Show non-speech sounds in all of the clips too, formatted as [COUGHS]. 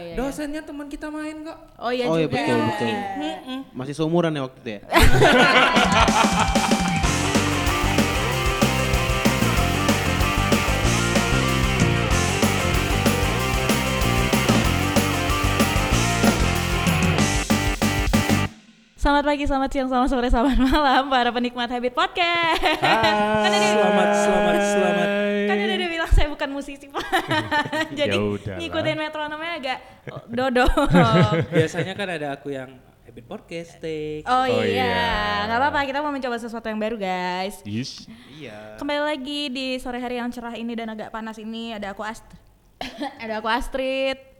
iya. Dosennya teman kita main kok. Oh iya Oh iya, juga. betul, betul. Mm-mm. Masih seumuran ya waktu itu ya? Eh. Selamat pagi, selamat siang, selamat sore, selamat malam para penikmat Habit Podcast. Hai. Selamat, selamat, selamat. Kan udah dia bilang saya bukan musisi [LAUGHS] Pak. Jadi Ya Yaudahlah. ngikutin metronomnya agak oh, dodo. Biasanya kan ada aku yang habit podcast take. [LAUGHS] oh, Oh iya, iya. nggak apa-apa kita mau mencoba sesuatu yang baru guys. Yes. Iya. Kembali lagi di sore hari yang cerah ini dan agak panas ini ada aku Astrid. [COUGHS] ada aku Astrid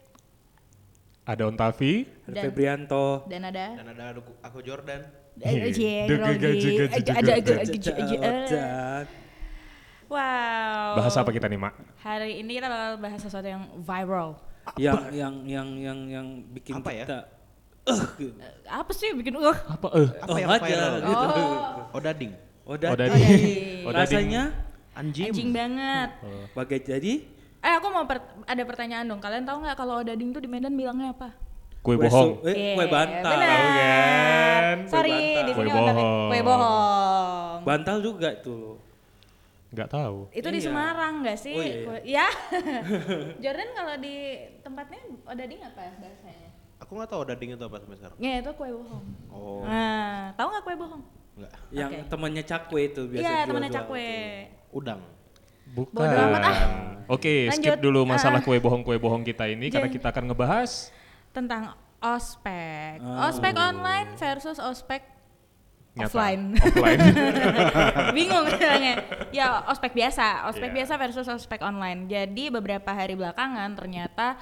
Ada Ontavi. Ada Dan- Febrianto. dan ada Dan ada aku, aku Jordan. Eh, Iya. Ojek, Duga, grogi. juga, Eh, juga, ada- juga. ada- ada- ada- Cocok. Wow. Bahasa apa kita nih, Mak? Hari ini kita bakal bahas sesuatu yang viral. Yang yang yang yang yang bikin Apa ya? kita gitu. Eh, Apa sih bikin uh? Apa eh? Apa Oh, yang aja, viral? gitu. Oh. Odading. Oda. Odading. Odading. Odading. Rasanya Anjing. Anjing banget. bagai jadi Eh aku mau per- ada pertanyaan dong. Kalian tahu nggak kalau odading tuh di Medan bilangnya apa? Kue kue su- bohong. Eh, kue Yeah, bantal. Iya, ya? benar. Tahu kan? Kue Sorry, bantal. di sini Kue orang tapi bohong. kue bohong. Bantal juga itu. Nggak tahu. Itu di Iya. Semarang nggak sih? Oh, iya, iya. Kue- [LAUGHS] Ya. Jordan kalau di tempatnya odading apa ya bahasanya? Aku nggak tahu odading itu apa sampai sekarang. Ya itu kue bohong. Oh, Nah, tahu nggak kue bohong? enggak. Yang Oke. temannya cakwe itu biasa Iya, temannya jual-jual cakwe. itu. Udang. Bukan. Bodoh amat, ah. Oke, Lanjut. skip dulu Ah. masalah kue bohong kue bohong kita ini karena Jangan. kita akan ngebahas Tentang ospek. Oh. Ospek online versus ospek nyata. offline. Offline. [LAUGHS] bingung katanya ya ospek biasa ospek Iya. biasa versus ospek online jadi beberapa hari belakangan ternyata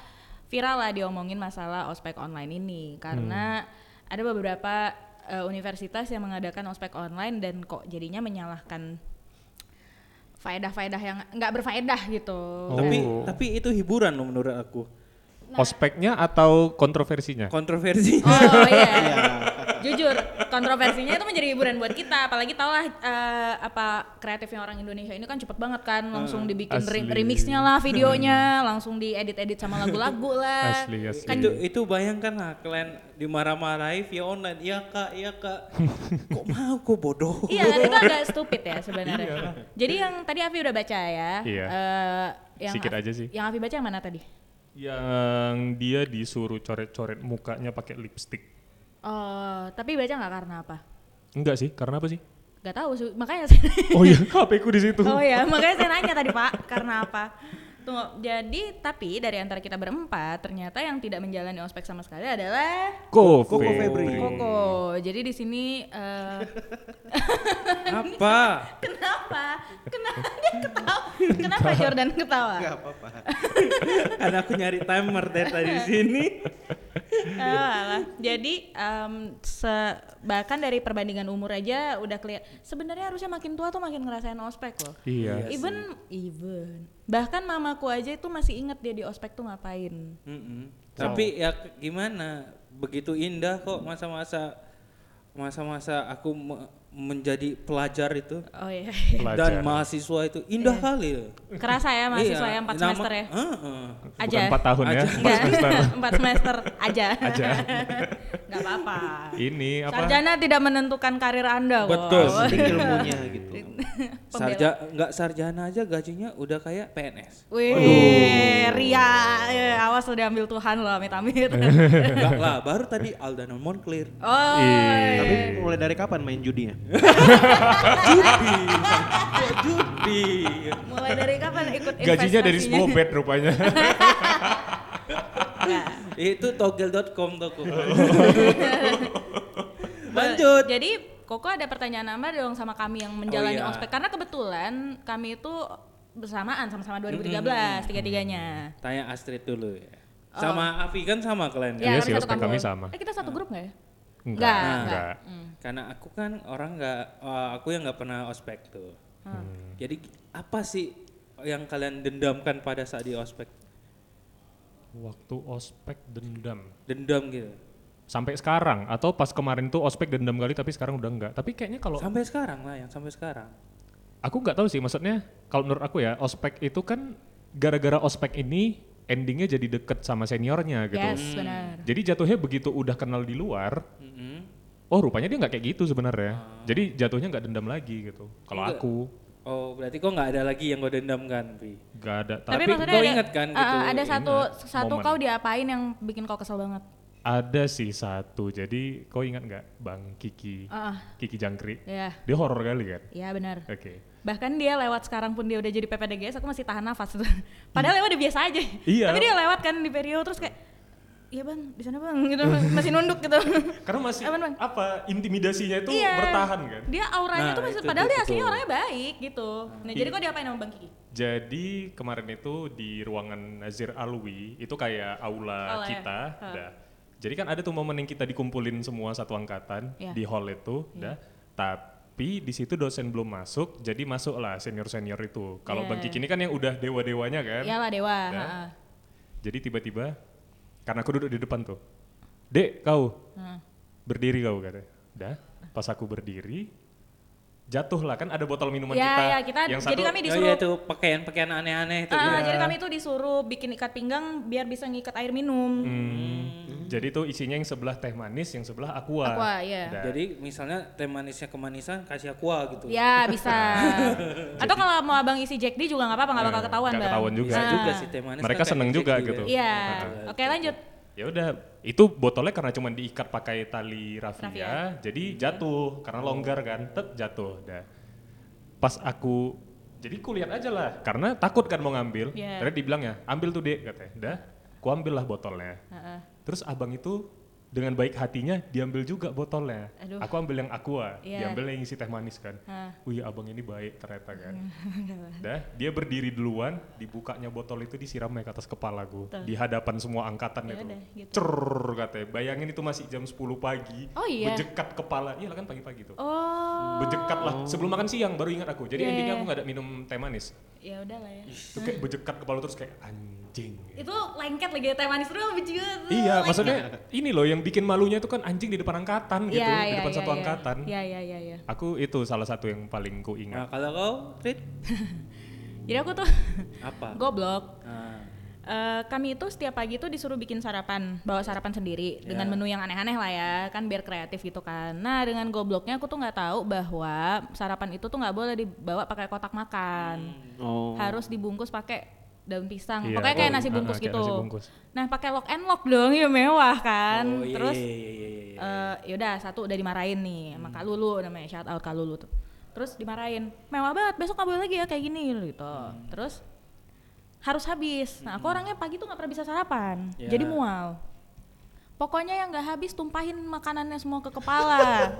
viral lah diomongin masalah ospek online ini karena Hmm. ada beberapa eh, universitas yang mengadakan ospek online dan kok jadinya menyalahkan faedah-faedah yang nggak berfaedah gitu Oh. Tapi tapi itu hiburan loh menurut aku. Nah. Ospeknya atau kontroversinya? Kontroversi. Oh [LAUGHS] iya. Jujur, kontroversinya itu menjadi hiburan buat kita, apalagi tau lah eh, apa kreatifnya orang Indonesia ini kan cepet banget kan, langsung dibikin re- Ah, Asli. Hmm. remixnya lah, videonya, langsung diedit-edit sama [LAUGHS] lagu-lagu lah. Asli, asli. Kan itu itu bayangkan lah kalian dimarah-marahi via online iya kak iya kak [LAUGHS] kok mau kok bodoh Iya kan itu agak stupid ya sebenarnya. Jadi yang tadi Avi udah baca ya. Iya. eh, yang Sikit Af- aja sih. Yang Avi baca yang mana tadi? Yang dia disuruh coret-coret mukanya pakai lipstick. Oh, tapi baca nggak karena apa? Enggak sih, karena apa sih? Gak tahu sih, makanya [LAUGHS] saya Oh iya, HP ku di situ. Oh ya, makanya saya nanya tadi Pak, karena apa? Tunggu, jadi tapi dari antara kita berempat ternyata yang tidak menjalani ospek sama sekali adalah Koko Koko Febri. Koko. Jadi di sini eh, [LAUGHS] apa kenapa? Kenapa dia ketawa? Kenapa Jordan ketawa? Enggak apa-apa. karena aku nyari timer dari tadi di sini Ah, alah. Jadi em, se- bahkan dari perbandingan umur aja udah kelihatan. Sebenarnya harusnya makin tua tuh makin ngerasain ospek loh. Iya. even even bahkan mamaku aja itu masih inget dia di ospek tuh ngapain. Mm-mm. tapi ya k- gimana begitu indah kok masa-masa masa-masa aku me- menjadi pelajar itu Oh iya. dan Pelajar. mahasiswa itu indah kali ya Iya. Kerasa ya mahasiswa yang 4 semester ya? Heeh. Aja. Iya, Bukan [LAUGHS] 4 tahun ya, Aja. 4 semester. 4 semester aja. Aja. [LAUGHS] Nggak apa-apa. Ini apa? Sarjana tidak menentukan karir Anda kok. Betul. Penting ilmunya [LAUGHS] gitu. sarja nggak sarjana aja gajinya udah kayak PNS Wih, Ria, eh, awas udah ambil Tuhan loh, [LAUGHS] amit-amit. Enggak lah, baru tadi Aldana Monclear. oh, Iya. Tapi mulai dari kapan main ya? judinya? Judi. Kok judi? mulai dari kapan ikut [LAUGHS] Gajinya dari investasinya? Smobet rupanya. Nah. Itu togel.com toko. Lanjut. Jadi Koko ada pertanyaan nambah dong sama kami yang menjalani iya. Oh, ospek karena kebetulan kami itu bersamaan sama-sama 2013 tiga-tiganya. Tanya Astrid dulu ya. Oh. Sama Afi kan sama kalian ya. karena Iya sih, satu ospek kami kampus. sama. Eh kita satu grup nggak ya? Enggak. Enggak. Enggak. Karena aku kan orang nggak, eh, aku yang nggak pernah ospek tuh. Hmm. Jadi apa sih yang kalian dendamkan pada saat di ospek? [LAUGHS] Waktu ospek dendam. Dendam gitu. Sampai sekarang atau pas kemarin tuh ospek dendam kali tapi sekarang udah enggak. Tapi kayaknya kalau Sampai sekarang lah yang sampai sekarang. aku nggak tahu sih maksudnya kalau menurut aku ya ospek itu kan gara-gara ospek ini endingnya jadi deket sama seniornya gitu. Yes, benar. Jadi jatuhnya begitu udah kenal di luar, Mm-mm. oh rupanya dia nggak kayak gitu sebenarnya. Ah. Jadi jatuhnya nggak dendam lagi gitu. Kalau Enggak. aku Oh berarti kok nggak ada lagi yang gue dendam kan, Pi? nggak ada. Tapi, Tapi, maksudnya kau ada, inget kan ah, gitu, ah, ada satu inget satu momen. kau diapain yang bikin kau kesel banget? ada sih satu. Jadi kau ingat nggak Bang Kiki? Ah, Kiki Jangkrik. ya, Dia horor kali kan? ya benar. Oke. Bahkan dia lewat sekarang pun dia udah jadi PPDGS, aku masih tahan nafas. [LAUGHS] Padahal lewat udah biasa aja. Iya. Tapi dia lewat kan di periode terus kayak, iya bang, di sana bang, [LAUGHS] gitu masih nunduk gitu. Karena masih Apaan, Bang? apa intimidasinya itu Iya. bertahan kan? Dia Nah, auranya tuh masih, itu- padahal itu dia aslinya betul. orangnya baik gitu. Nah, jadi Iya. kok diapain sama bang Kiki? Jadi kemarin itu di ruangan Nazir Alwi itu kayak aula Aula ya. kita, Ha. dah. Jadi kan ada tuh momen yang kita dikumpulin semua satu angkatan Ya. di hall itu, dah. Tapi di situ dosen belum masuk, jadi masuklah senior senior itu. Kalau Ya. Bang Kiki ini kan yang udah dewa dewanya kan. Iyalah dewa. Ya. ha-ha. Jadi tiba-tiba karena aku duduk di depan tuh, dek kau Heeh. berdiri kau katanya. Dah, pas aku berdiri jatuhlah kan ada botol minuman Ya, kita, ya, kita- yang jadi satu kami Oh disuruh- iya tuh pakaian-pakaian aneh-aneh itu. Ah, iya. Jadi kami tuh disuruh bikin ikat pinggang biar bisa ngikat air minum. Hmm. Jadi tuh isinya yang sebelah teh manis, yang sebelah aqua. Aqua, iya. Nah, Jadi misalnya teh manisnya kemanisan kasih aqua gitu. Ya [LAUGHS] bisa. Atau kalau mau abang isi Jack D juga nggak apa-apa, nggak bakal eh, ketahuan nggak bang. ketahuan juga. Bisa Ah. juga sih teh manis. Mereka kan seneng kayak juga Jack gitu. Iya. Ah. Oke lanjut. Ya udah, itu botolnya karena cuma diikat pakai tali rafia, Rafia. Hmm. jadi jatuh karena longgar kan, tet jatuh. Dah. Pas aku jadi ku lihat aja lah, karena takut kan mau ngambil. Iya. Ternyata dibilang ya, ambil tuh dek katanya. Dah, ku ambil lah botolnya. Heeh. Terus abang itu dengan baik hatinya diambil juga botolnya. Aduh. Aku ambil yang aqua, Iya. diambil yang isi teh manis kan. Hah. Wih abang ini baik ternyata kan. Hmm. [LAUGHS] Dah, dia berdiri duluan, dibukanya botol itu disiramnya ke atas kepala gue. Tuh. Di hadapan semua angkatan Ya itu. udah, gitu. Cer katanya. Bayangin itu masih jam 10 pagi. Oh iya. Bejekat kepala. Iya kan pagi-pagi tuh. Oh. Bejekat lah. Sebelum makan siang baru ingat aku. Jadi Iya, endingnya iya, aku gak ada minum teh manis. Ya udah lah ya. Itu kayak bejekat kepala terus kayak anjing. Itu lengket lagi teh manis dulu benci banget. Iya, Lengket. maksudnya ini loh yang bikin malunya itu kan anjing di depan angkatan gitu, Iya, di iya, depan iya, satu iya. angkatan. Iya iya iya iya. Aku itu salah satu yang paling ku Nah [LAUGHS] ingat. kalau kau, Rit, Jadi aku tuh apa? [LAUGHS] goblok. Ah. Eh, kami itu setiap pagi tuh disuruh bikin sarapan, bawa sarapan sendiri dengan menu yang aneh-aneh lah ya, kan biar kreatif gitu kan. Nah dengan gobloknya aku tuh nggak tahu bahwa sarapan itu tuh nggak boleh dibawa pakai kotak makan, Oh. harus dibungkus pakai daun pisang, Hmm. Iya, pokoknya kayak oh, nasi ah, ah, bungkus kayak gitu. nasi bungkus. Nah pakai lock and lock dong, ya mewah kan. Oh, iya, Terus iya, iya, iya, iya. eh yaudah satu udah dimarahin nih sama Kak Lulu namanya shout out Kak Lulu tuh terus dimarahin mewah banget besok nggak boleh lagi ya kayak gini gitu terus harus habis nah aku orangnya pagi tuh nggak pernah bisa sarapan Ya. jadi mual pokoknya yang nggak habis tumpahin makanannya semua ke kepala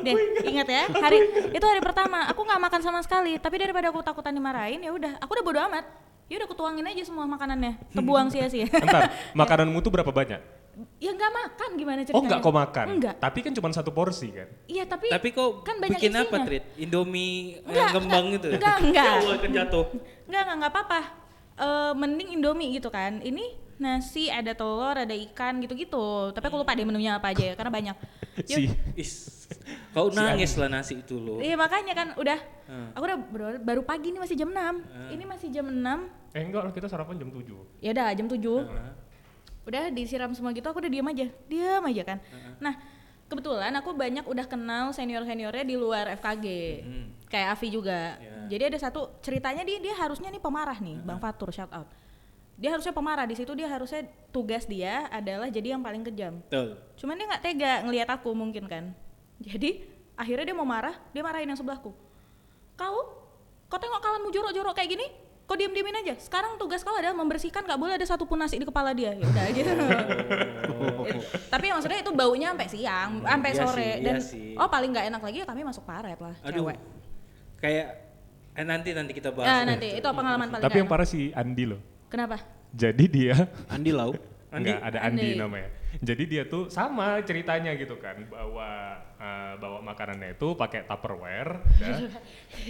deh ingat ya hari itu hari pertama aku nggak makan sama sekali tapi daripada aku takutan dimarahin ya udah aku udah bodo amat ya udah aku tuangin aja semua makanannya kebuang sia-sia Entar, makananmu tuh berapa banyak? [LAUGHS] ya nggak makan gimana ceritanya Oh enggak kau makan? enggak Tapi kan cuma satu porsi kan? Iya tapi Tapi kok kan banyak bikin isinya. apa, Trit? Indomie Enggak, yang kembang enggak, gitu? enggak, enggak. [LAUGHS] ya Allah, kan jatuh. Enggak enggak enggak apa-apa. Eh, mending Indomie gitu kan. Ini nasi ada telur ada ikan gitu-gitu. Tapi aku lupa deh menunya apa aja ya karena [LAUGHS] banyak. Ya, Si, Is, kau nangis lah nasi itu loh. Iya makanya kan udah. Hmm. Aku udah baru- baru pagi ini masih jam 6. Ini masih jam 6. eh enggak lah kita sarapan jam 7. Ya udah jam 7. Udah disiram semua gitu aku udah diam aja. Diam aja kan. Nah, kebetulan aku banyak udah kenal senior-seniornya di luar FKG. Kayak Avi juga. Jadi ada satu ceritanya dia dia harusnya nih pemarah nih, Bang Fatur shout out. Dia harusnya pemarah di situ dia harusnya tugas dia adalah jadi yang paling kejam. Betul. Cuman dia nggak tega ngelihat aku mungkin kan. Jadi akhirnya dia mau marah, dia marahin yang sebelahku. Kau, kau tengok kawanmu jorok-jorok kayak gini, kau diem-diemin aja. Sekarang tugas kau adalah membersihkan, nggak boleh ada satupun nasi di kepala dia. Ya udah [LAUGHS] gitu. It- tapi maksudnya itu baunya sampai siang, sampai iya sore. sih, dan iya sih. oh paling nggak enak lagi ya kami masuk paret lah, Aduh. cewek. Kayak eh, nanti nanti kita bahas. Ah, itu. nanti itu pengalaman paling Tapi nggak yang enak. parah si Andi loh. Kenapa? Jadi dia [LAUGHS] Andi Lau. Enggak, ada Andi. Andi, namanya. Jadi dia tuh sama ceritanya gitu kan, bawa eh, bawa makanannya itu pakai Tupperware. [LAUGHS] dah.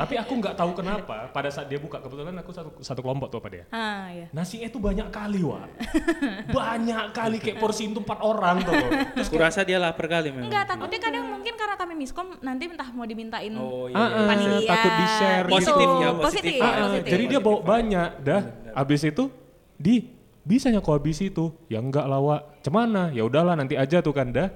Tapi aku nggak tahu kenapa pada saat dia buka kebetulan aku satu satu kelompok tuh apa dia. Ah ya. Nasinya E tuh banyak kali, Wak. banyak kali kayak porsi itu empat orang tuh. Terus kurasa dia lapar kali memang. Enggak, takutnya kadang mungkin karena kami miskom nanti entah mau dimintain Oh iya. Ah, iya. ah. panitia takut di-share gitu. Positif ya, positif. positif, Ah, ah, positif. jadi dia bawa banyak dah. Habis itu di bisanya kok habis itu ya enggak lah Wak cemana ya udahlah nanti aja tuh kan dah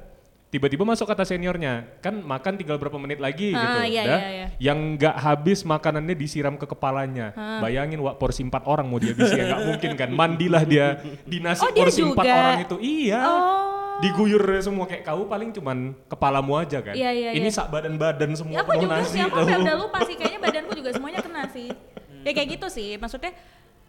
tiba-tiba masuk kata seniornya kan makan tinggal berapa menit lagi gitu Ah, iya, dah iya, iya. yang nggak habis makanannya disiram ke kepalanya Ah. bayangin Wak porsi empat orang mau dia bisa ya nggak mungkin kan mandilah dia di nasi Oh, dia porsi empat juga. orang itu iya Oh. diguyur semua kayak kau paling cuman kepalamu aja kan Iya, iya, ini iya. sak badan-badan semua Ya, aku penuh juga nasi sih, aku tau. sampai udah lupa sih. Kayaknya badanku juga semuanya kena sih. Hmm. Ya kayak gitu sih, maksudnya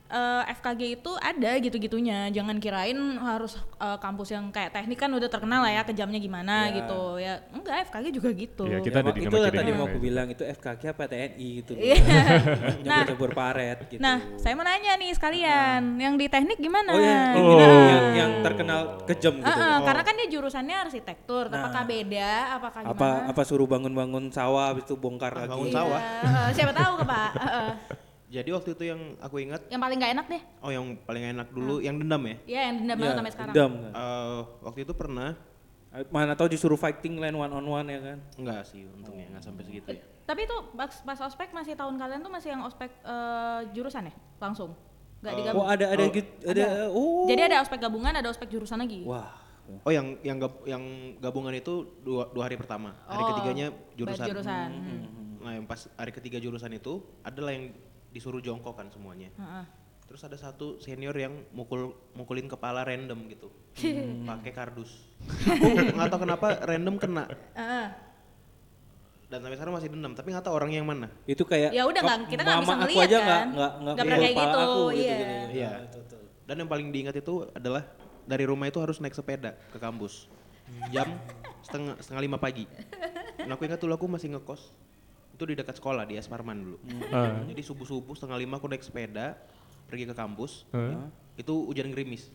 eh, FKG itu ada gitu-gitunya. Jangan kirain harus eh, kampus yang kayak teknik kan udah terkenal lah ya kejamnya gimana Iya. gitu. Ya enggak, FKG juga gitu. Iya, Ya, kita ada mak- di itu nama tadi kiriman mau aku aja. bilang itu FKG apa TNI gitu loh. [LAUGHS] Iya. nah, campur paret gitu. Nah. Nah, saya mau nanya nih sekalian, yang di teknik gimana? oh ya, Gimana? Oh. Yang, yang terkenal kejam gitu. Nah. Eh, eh, Karena kan dia jurusannya arsitektur, apakah beda, apakah gimana? apa apa suruh bangun-bangun sawah habis itu bongkar Ah, lagi. bangun Iya, sawah. eh, siapa tahu ke Pak? Eh, eh. Jadi waktu itu yang aku ingat, Yang paling nggak enak deh, oh yang paling enak dulu, yang dendam ya. ya yang dendam Ya, banget sampai sekarang. dendam kan. Eh, waktu itu pernah, Mana tahu disuruh fighting lain one on one ya kan. enggak sih untungnya, enggak sampai segitu ya. Tapi itu pas, pas ospek masih tahun kalian tuh masih yang ospek eh, jurusan ya langsung, nggak Eh, digabung. Oh ada ada gitu ada, oh. Jadi ada ospek gabungan, ada ospek jurusan lagi. Wah. Eh. Oh yang yang gab- yang gabungan itu dua, dua hari pertama, hari Oh, ketiganya baru jurusan. jurusan. hmm. Nah yang pas hari ketiga jurusan itu adalah yang disuruh jongkok kan semuanya. Heeh. Terus ada satu senior yang mukul mukulin kepala random gitu, pakai kardus. Aku nggak tahu kenapa random kena Heeh. dan sampai sekarang masih dendam. Tapi nggak tahu orangnya yang mana. Itu kayak Ya udah kok nggak, kita nggak mama bisa aku ngeliat aja kan. nggak nggak nggak pernah pukul kayak kepala gitu. aku, gitu, iya. gini. Iya. Dan yang paling diingat itu adalah dari rumah itu harus naik sepeda ke kampus jam setengah setengah lima pagi. Dan aku ingat dulu aku masih ngekos itu di dekat sekolah di Asparman dulu. Ah. Jadi subuh subuh setengah lima aku naik sepeda pergi ke kampus Hah? itu hujan gerimis.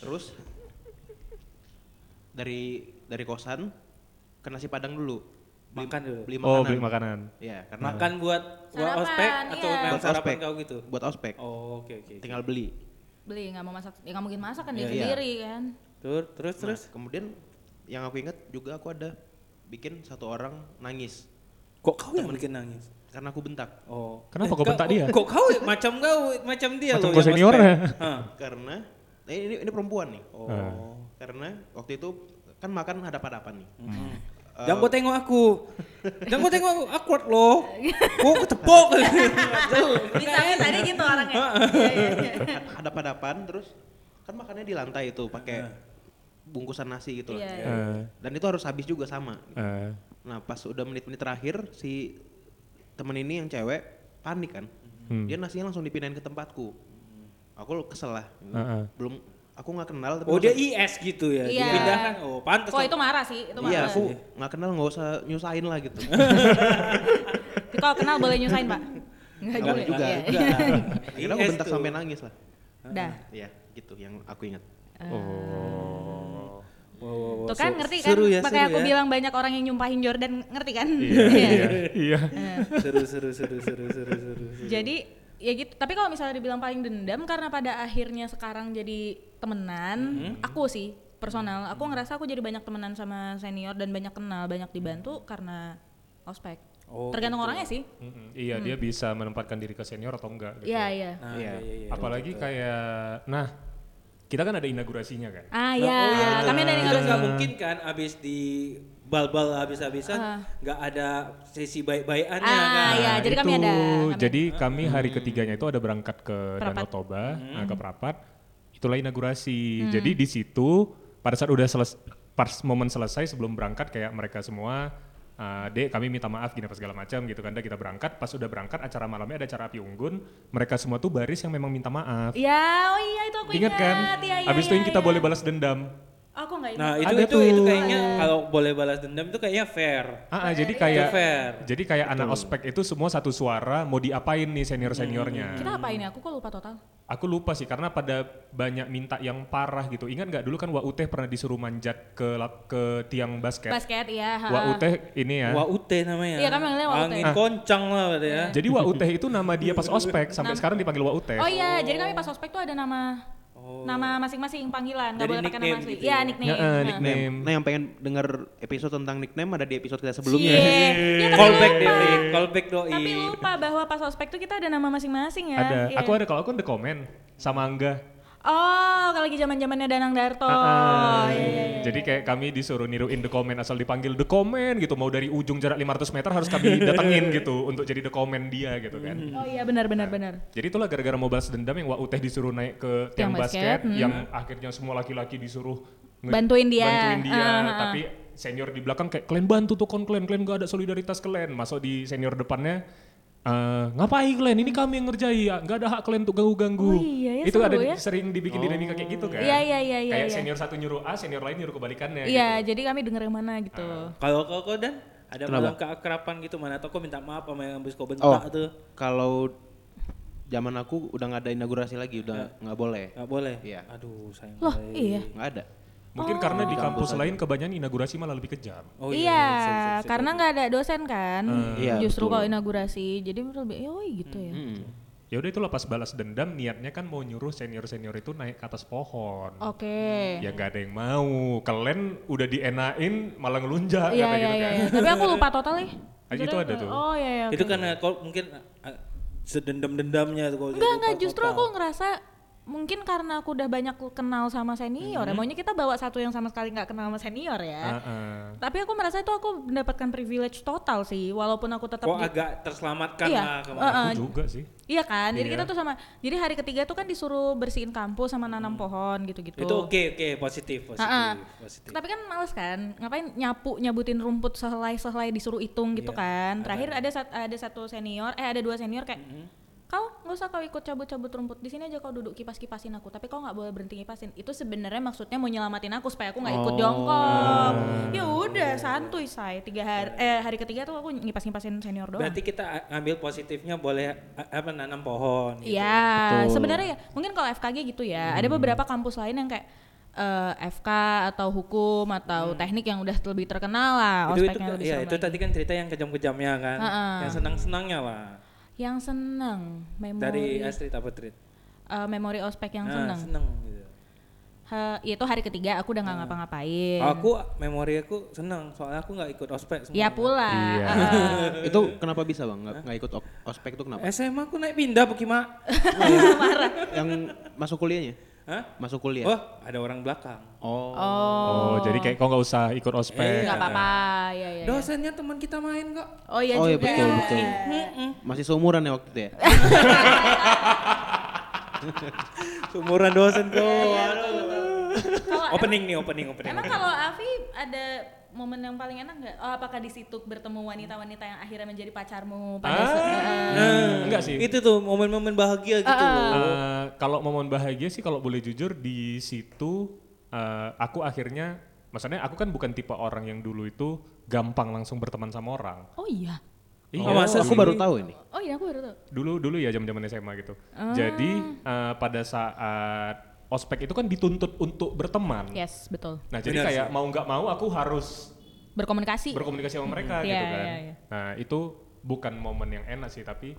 Terus dari dari kosan ke nasi padang dulu beli, Makan dulu. beli makanan. oh beli makanan Ya karena Makan buat buat Sarapan, ospek atau iya. memang Buat sarapan ospek. kau gitu. buat ospek Oh, oke oke. tinggal beli. Beli nggak mau masak, ya nggak mungkin masak kan dia Iya, iya. sendiri [LAUGHS] kan. Terus terus Nah, terus. kemudian yang aku ingat juga aku ada bikin satu orang nangis Kok kau yang bikin nangis? karena aku bentak Oh. Kenapa kau bentak dia? Kok kau macam kau, macam dia Macam loh. kau yang senior ospek. ya? Hah. karena eh, ini ini perempuan nih Oh. Ah. karena waktu itu kan makan hadap-hadapan nih Eh, Jangan kau tengok aku. Jangan kau tengok aku, awkward loh. Kok aku [LAUGHS] tepok. Bisa bisa dia gitu orangnya. Iya, iya, iya. Kan hadap-hadapan terus kan makannya di lantai itu Iya. pakai bungkusan nasi gitu lah. Iya. Eh, dan itu harus habis juga sama eh. nah pas udah menit-menit terakhir si temen ini yang cewek panik kan Hmm. dia nasinya langsung dipindahin ke tempatku aku kesel lah Ah, ah. belum aku nggak kenal tapi Oh langsung- dia IS gitu ya. Iya. Dipindahkan. Oh, pantas. Kok itu marah sih, itu Iya, marah. aku nggak kenal nggak usah nyusahin lah gitu. Tapi Kalau kenal boleh nyusahin pak? Nggak Nggak boleh juga. iya. [LAUGHS] Akhirnya Iya aku E bentak sampai nangis lah. Dah. Iya, gitu yang aku ingat. Ah. oh Tuh kan ngerti kan, Seru ya, makanya seru aku ya. bilang banyak orang yang nyumpahin Jordan, ngerti kan? [LAUGHS] iya iya Seru seru seru seru seru seru. seru. Jadi ya gitu, tapi kalau misalnya dibilang paling dendam karena pada akhirnya sekarang jadi Mm-hmm. temenan, aku sih personal, aku ngerasa aku jadi banyak temenan sama senior dan banyak kenal, banyak dibantu karena ospek. Oh, Tergantung gitu. orangnya sih. Mm-mm. iya dia bisa menempatkan diri ke senior atau enggak gitu. Iya, iya. Nah, Iya. iya iya iya. apalagi kayak nah kita kan ada inaugurasinya kan Nah, Ah ya, oh iya, kami kita- dari kita nggak mungkin kan abis di bal-bal Ah. habis-habisan nggak ada sesi baik-baikannya Ah, kan. iya. jadi kami ada- kami- Nah, jadi kami hari ketiganya itu ada berangkat ke Danau Perapat. Toba Hmm. nah, ke Perapat itulah inaugurasi jadi di situ pada saat udah selesai pas momen selesai sebelum berangkat kayak mereka semua "Ah, dek kami minta maaf gini apa segala macam gitu kan Dah kita berangkat pas udah berangkat acara malamnya ada acara api unggun mereka semua tuh baris yang memang minta maaf Ya, oh iya itu aku ingat kan Iya, iya, abis itu yang iya, kita iya. boleh balas dendam Aku nggak ingat. Nah itu Ada itu tuh. itu kayaknya Iya. kalau boleh balas dendam itu kayaknya fair. Ah, ah, jadi Itu kayak fair. jadi kayak anak ospek itu semua satu suara mau diapain nih senior seniornya Hmm. Kita apa ini? Aku kok lupa total. Aku lupa sih karena pada banyak minta yang parah gitu. Ingat nggak dulu kan Wauteh pernah disuruh manjat ke lap- ke tiang basket. Basket ya. ha. Wauteh ini ya. Waute namanya. Iya, kan manggilnya Waute. Angin Ah. koncang lah berarti ya. Jadi Wauteh itu nama dia pas ospek sampai sekarang dipanggil Wauteh. Oh iya, jadi kami pas ospek tuh ada nama nama masing-masing panggilan, Oh. nggak Jadi boleh pakai nama nickname asli. gitu Iya, ya? nickname. Ya, eh, Nah. nickname. Name. Nah, yang pengen dengar episode tentang nickname ada di episode kita sebelumnya. Cie. Ya, tapi Callback Iya. lupa. doi, callback doi. Tapi lupa bahwa pas ospek tuh kita ada nama masing-masing ya. Ada. Iya. Aku ada kalau aku ada komen sama Angga. Oh, kalau lagi zaman zamannya Danang Darto. Iya, Ah, iya, iya. Jadi kayak kami disuruh niruin The Comment asal dipanggil The Comment gitu. Mau dari ujung jarak 500 meter harus kami [LAUGHS] datengin gitu untuk jadi The Comment dia gitu kan. Oh iya benar benar benar. Jadi itulah gara-gara mau balas dendam yang Wak Uteh disuruh naik ke tiang Tiang basket, basket, hmm. yang akhirnya semua laki-laki disuruh nge- Bantuin dia. Bantuin dia, Ah, ah, ah. tapi senior di belakang kayak kalian bantu tuh kon kalian, kalian gak ada solidaritas kalian. Masuk di senior depannya "Eh, ngapain kalian? Ini kami yang ngerjai, ya. nggak ada hak kalian untuk ganggu-ganggu. Oh iya ya, itu seru ada ya. sering dibikin dinamika kayak gitu kan? Iya, iya, iya, iya, Kayak iya. senior satu nyuruh A, senior lain nyuruh kebalikannya. Iya, gitu. jadi kami denger yang mana gitu. Kalau kau kau dan ada Kenapa? malam keakrapan gitu mana atau kau minta maaf sama yang habis kau Oh. bentak tuh Kalau zaman aku udah nggak ada inaugurasi lagi, udah nggak boleh. nggak boleh. Iya. Aduh sayang. Loh, baik. iya. Nggak ada. Mungkin Oh. karena di kampus lain kebanyakan inaugurasi malah lebih kejam. Oh iya, karena nggak ada dosen kan. Iya, Justru betul. kalau inaugurasi, jadi menurut lebih, "Yoi," gitu ya. Hmm, Mm. Ya udah itulah pas balas dendam niatnya kan mau nyuruh senior-senior itu naik ke atas pohon. Oke. Hmm, Ya gak ada yang mau. Kalian udah dienain malah ngelunjak Iya, iya, kata iya. gitu kan. iya. Tapi aku lupa total [LAUGHS] nih. Ah, itu ada tuh. Oh iya, iya. Itu karena kau mungkin ah, sedendam-dendamnya tuh kau. Enggak, enggak, justru aku ngerasa mungkin karena aku udah banyak kenal sama senior, ya, Mm-hmm. maunya kita bawa satu yang sama sekali nggak kenal sama senior ya. Heeh. Tapi aku merasa itu aku mendapatkan privilege total sih, walaupun aku tetap Oh, Kau di- agak terselamatkan Iya, lah kemarin. eh, eh, Aku juga sih. Iya kan, jadi Iya. kita tuh sama. Jadi hari ketiga tuh kan disuruh bersihin kampus sama Hmm. nanam pohon gitu-gitu. Itu oke oke positif positif Ah, ah. positif. Tapi kan males kan, ngapain nyapu nyabutin rumput sehelai-sehelai disuruh hitung gitu Iya, kan. Terakhir ada sat- ada satu senior, eh ada dua senior kayak kau nggak usah kau ikut cabut-cabut rumput di sini aja kau duduk kipas-kipasin aku tapi kau nggak boleh berhenti kipasin itu sebenarnya maksudnya mau nyelamatin aku supaya aku nggak Oh. ikut jongkok ya udah santuy say tiga hari eh hari ketiga tuh aku ngipas-ngipasin senior doang Berarti kita a- ambil positifnya boleh a- apa nanam pohon. gitu. Iya, Betul. Hmm. sebenarnya ya mungkin kalau FKG gitu ya, ada beberapa kampus lain yang kayak eh, FK atau hukum atau teknik yang udah lebih terkenal lah, Hmm. Itu itu ospeknya lebih ya serem itu lagi. tadi kan cerita yang kejam-kejamnya kan. Ah, ah. Yang senang-senangnya lah. Yang seneng, memori Dari Astrid apa Trit? eh, memori ospek yang Ah, seneng. seneng gitu. Ha, itu hari ketiga aku udah nggak ngapa-ngapain. Aku memori aku seneng soalnya aku nggak ikut ospek semua. Ya pula. Iya. heeh. itu kenapa bisa bang nggak nggak ikut ok- ospek itu kenapa? SMA aku naik pindah [LAUGHS] Pokima. Yang masuk kuliahnya? Hah? Masuk Iya. kuliah? Wah, ada orang belakang. [LAUGHS] Oh. Oh, jadi kayak kok nggak usah ikut ospek. Nggak apa-apa. Ya, ya, ya. Dosennya teman kita main kok. Oh iya Oh, iya, juga. Hmm. betul, betul. Iya. Masih seumuran ya waktu itu ya? Sumuran dosen Iya, kok. [LAUGHS] Kalau opening nih, opening, opening. Emang kalau Avi ada momen yang paling enak nggak? Oh, apakah di situ bertemu wanita-wanita yang akhirnya menjadi pacarmu pada Ah, saat Nah, enggak sih. Itu tuh momen-momen bahagia gitu loh. Eh, kalau momen bahagia sih kalau boleh jujur di situ eh, aku akhirnya maksudnya aku kan bukan tipe orang yang dulu itu gampang langsung berteman sama orang. Oh iya. Iya, Oh, masa sih? aku baru tahu ini. Oh iya aku baru tahu. dulu dulu ya zaman-zaman SMA gitu. Ah. Jadi eh, pada saat ospek itu kan dituntut untuk berteman. Hmm. Yes, betul. Nah jadi Benar kayak mau nggak mau aku harus Berkomunikasi. berkomunikasi sama Iya, mereka gitu kan. iya, iya. Nah itu bukan momen yang enak sih tapi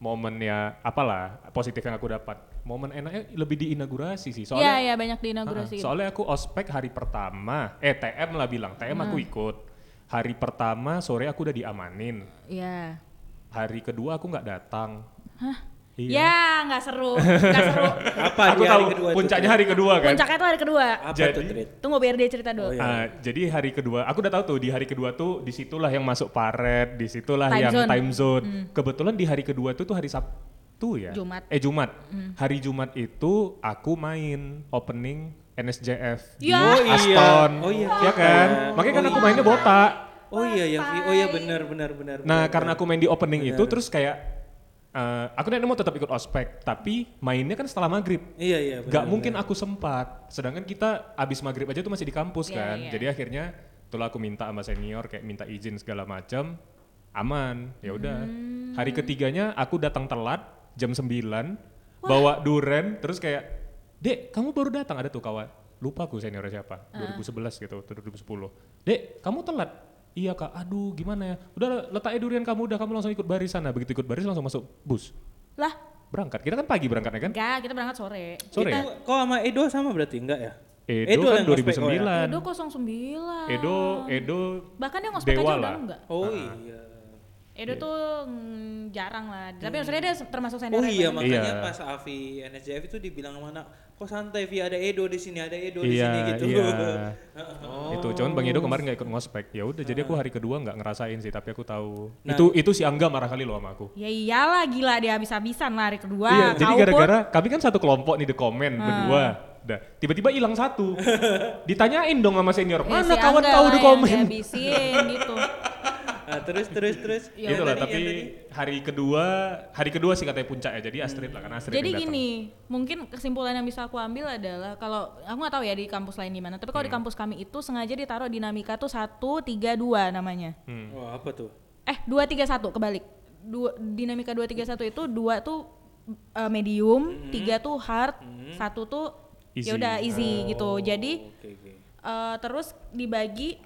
momen ya apalah positif yang aku dapat. Momen enaknya lebih di inaugurasi sih Iya, soalnya. iya banyak di Ah, inaugurasi. gitu. soalnya aku ospek hari pertama, eh TM lah bilang, TM aku Hmm. ikut. Hari pertama sore aku udah diamanin. Iya. Hari kedua aku nggak datang. Hah? Ya, nggak seru, nggak seru. Apa aku di tahu hari kedua itu? puncaknya hari kedua [LAUGHS] kan. Puncaknya tuh hari kedua. Apa tuh, Jadi- Trit? Tunggu biar dia cerita Oh, dulu. iya. Ah, jadi hari kedua, aku udah tahu tuh di hari kedua tuh disitulah yang masuk paret, disitulah Time yang zone. Hmm. time zone. Kebetulan di hari kedua tuh tuh hari Sabtu ya. Jumat. Hmm. Eh Jumat. Hari Jumat itu aku main opening NSJF di Ya. Oh iya. Aston. Oh iya. Ya kan? Makanya kan aku mainnya botak. Oh iya, yang oh iya benar benar benar. Nah, benar. karena aku main di Iya. opening itu terus kayak eh, aku nenek mau tetap ikut ospek, tapi mainnya kan setelah maghrib. iya iya benar, Gak mungkin aku sempat. Sedangkan kita abis maghrib aja tuh masih di kampus Iya, kan. iya. Jadi akhirnya itulah aku minta sama senior kayak minta izin segala macam. Aman. Ya udah. Hmm. Hari ketiganya aku datang telat jam 9 bawa duren terus kayak Dek, kamu baru datang ada tuh kawan. Lupa aku seniornya siapa. Ah. 2011 gitu, atau 2010. Dek, kamu telat. Iya kak, aduh gimana ya. Udah letaknya durian kamu, udah kamu langsung ikut baris sana. Begitu ikut baris langsung masuk bus. Lah, Berangkat, kita kan pagi berangkatnya kan? enggak, kita berangkat sore. Sore ya? Itu kok sama Edo sama berarti enggak ya? Edo, lah kan yang ngospek kau ya? Edo 2009. 09. Edo Edo Bahkan dia ngospek Dewa aja udah lah. enggak. Oh iya. Edo tuh mm, jarang lah. Tapi maksudnya dia termasuk senior. Oh iya hebat. makanya Hmm. Iya. pas Avi NSJF itu dibilang sama anak kok santai Vi ada Edo di sini ada Edo di Iya, sini gitu. iya. Oh. Itu cuman Bang Edo kemarin nggak ikut ngospek. Ya udah jadi aku Ah. hari kedua nggak ngerasain sih, tapi aku tahu. Nah. Itu itu si Angga marah kali loh sama aku. Ya iyalah gila dia habis-habisan lari kedua. Iya, jadi Kau gara-gara kami kan satu kelompok nih the comment Ah. berdua. Dah, tiba-tiba hilang [LAUGHS] satu. Ditanyain dong sama senior, pun- mana Eh, Iya si kawan Angga kau lah the yang comment? dihabisin gitu. [LAUGHS] Nah, terus terus terus. Ya [LAUGHS] gitu udah Yang Iya, tadi- lah, tapi yang hari kedua, hari kedua sih katanya puncak ya. Jadi Astrid lah kan Astrid Jadi yang datang. gini, mungkin kesimpulan yang bisa aku ambil adalah kalau aku nggak tahu ya di kampus lain gimana, tapi kalau di Hmm. kampus kami itu sengaja ditaruh dinamika tuh 1 3 2 namanya. tadi- Wah, Oh, apa tuh? Eh, 2 3 1 kebalik. Dua, dinamika 2 3 1 itu 2 tuh eh, medium, 3 tuh hard, 1 tuh Hmm. ya Easy. Oh. udah easy gitu. Jadi Oke oke. Eh, terus dibagi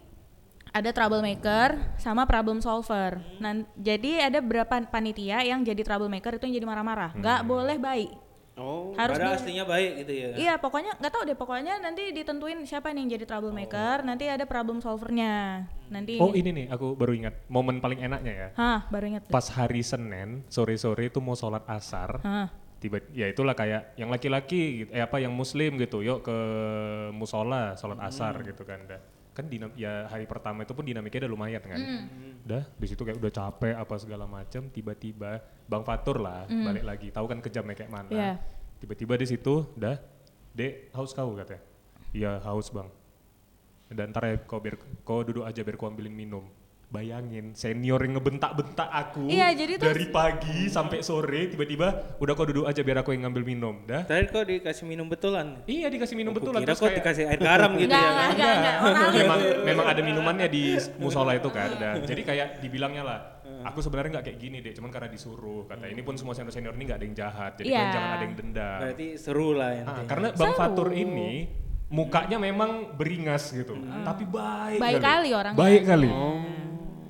ada troublemaker sama problem solver. Hmm. Nan- jadi ada berapa panitia yang jadi troublemaker itu yang jadi marah-marah. Nggak Hmm. boleh baik. Oh. Harus Padahal di- aslinya baik gitu ya. Iya, pokoknya nggak tahu deh. Pokoknya nanti ditentuin siapa nih yang jadi Oh. troublemaker. Nanti ada problem solvernya. Nanti. Oh ini nih, aku baru ingat momen paling enaknya ya. Hah, baru ingat. Pas hari Senin sore-sore itu mau sholat asar, Hah. tiba ya itulah kayak yang laki-laki gitu, eh apa yang muslim gitu yuk ke musola sholat Hmm. asar gitu kan dah kan dinam ya hari pertama itu pun dinamiknya udah lumayan kan Hmm. dah di situ kayak udah capek apa segala macam tiba-tiba bang Fatur lah balik lagi tahu kan kejamnya kayak mana Hmm. Iya. tiba-tiba di situ dah dek haus kau katanya iya haus bang dan ntar ya kau biar kau duduk aja biar kau ambilin minum bayangin senior yang ngebentak-bentak aku Iya, jadi tuh- dari pagi sampai sore tiba-tiba udah kau duduk aja biar aku yang ngambil minum dah Terakhir kok dikasih minum betulan. iya dikasih minum betul Kira terus kok kayak dikasih air garam gitu Nggak, ya. nggak, kan? nggak, nggak. [LAUGHS] Orang memang memang ada minumannya di musola itu kan dan jadi kayak dibilangnya lah aku sebenarnya nggak kayak gini deh cuman karena disuruh kata Hmm. ini pun semua senior senior ini nggak ada yang jahat jadi kalian Iya. jangan ada yang dendam Berarti seru lah ya. Ah, intinya. karena bang Seru. Fatur ini mukanya memang beringas gitu tapi baik Hmm. Baik kali orangnya. Oh. baik kali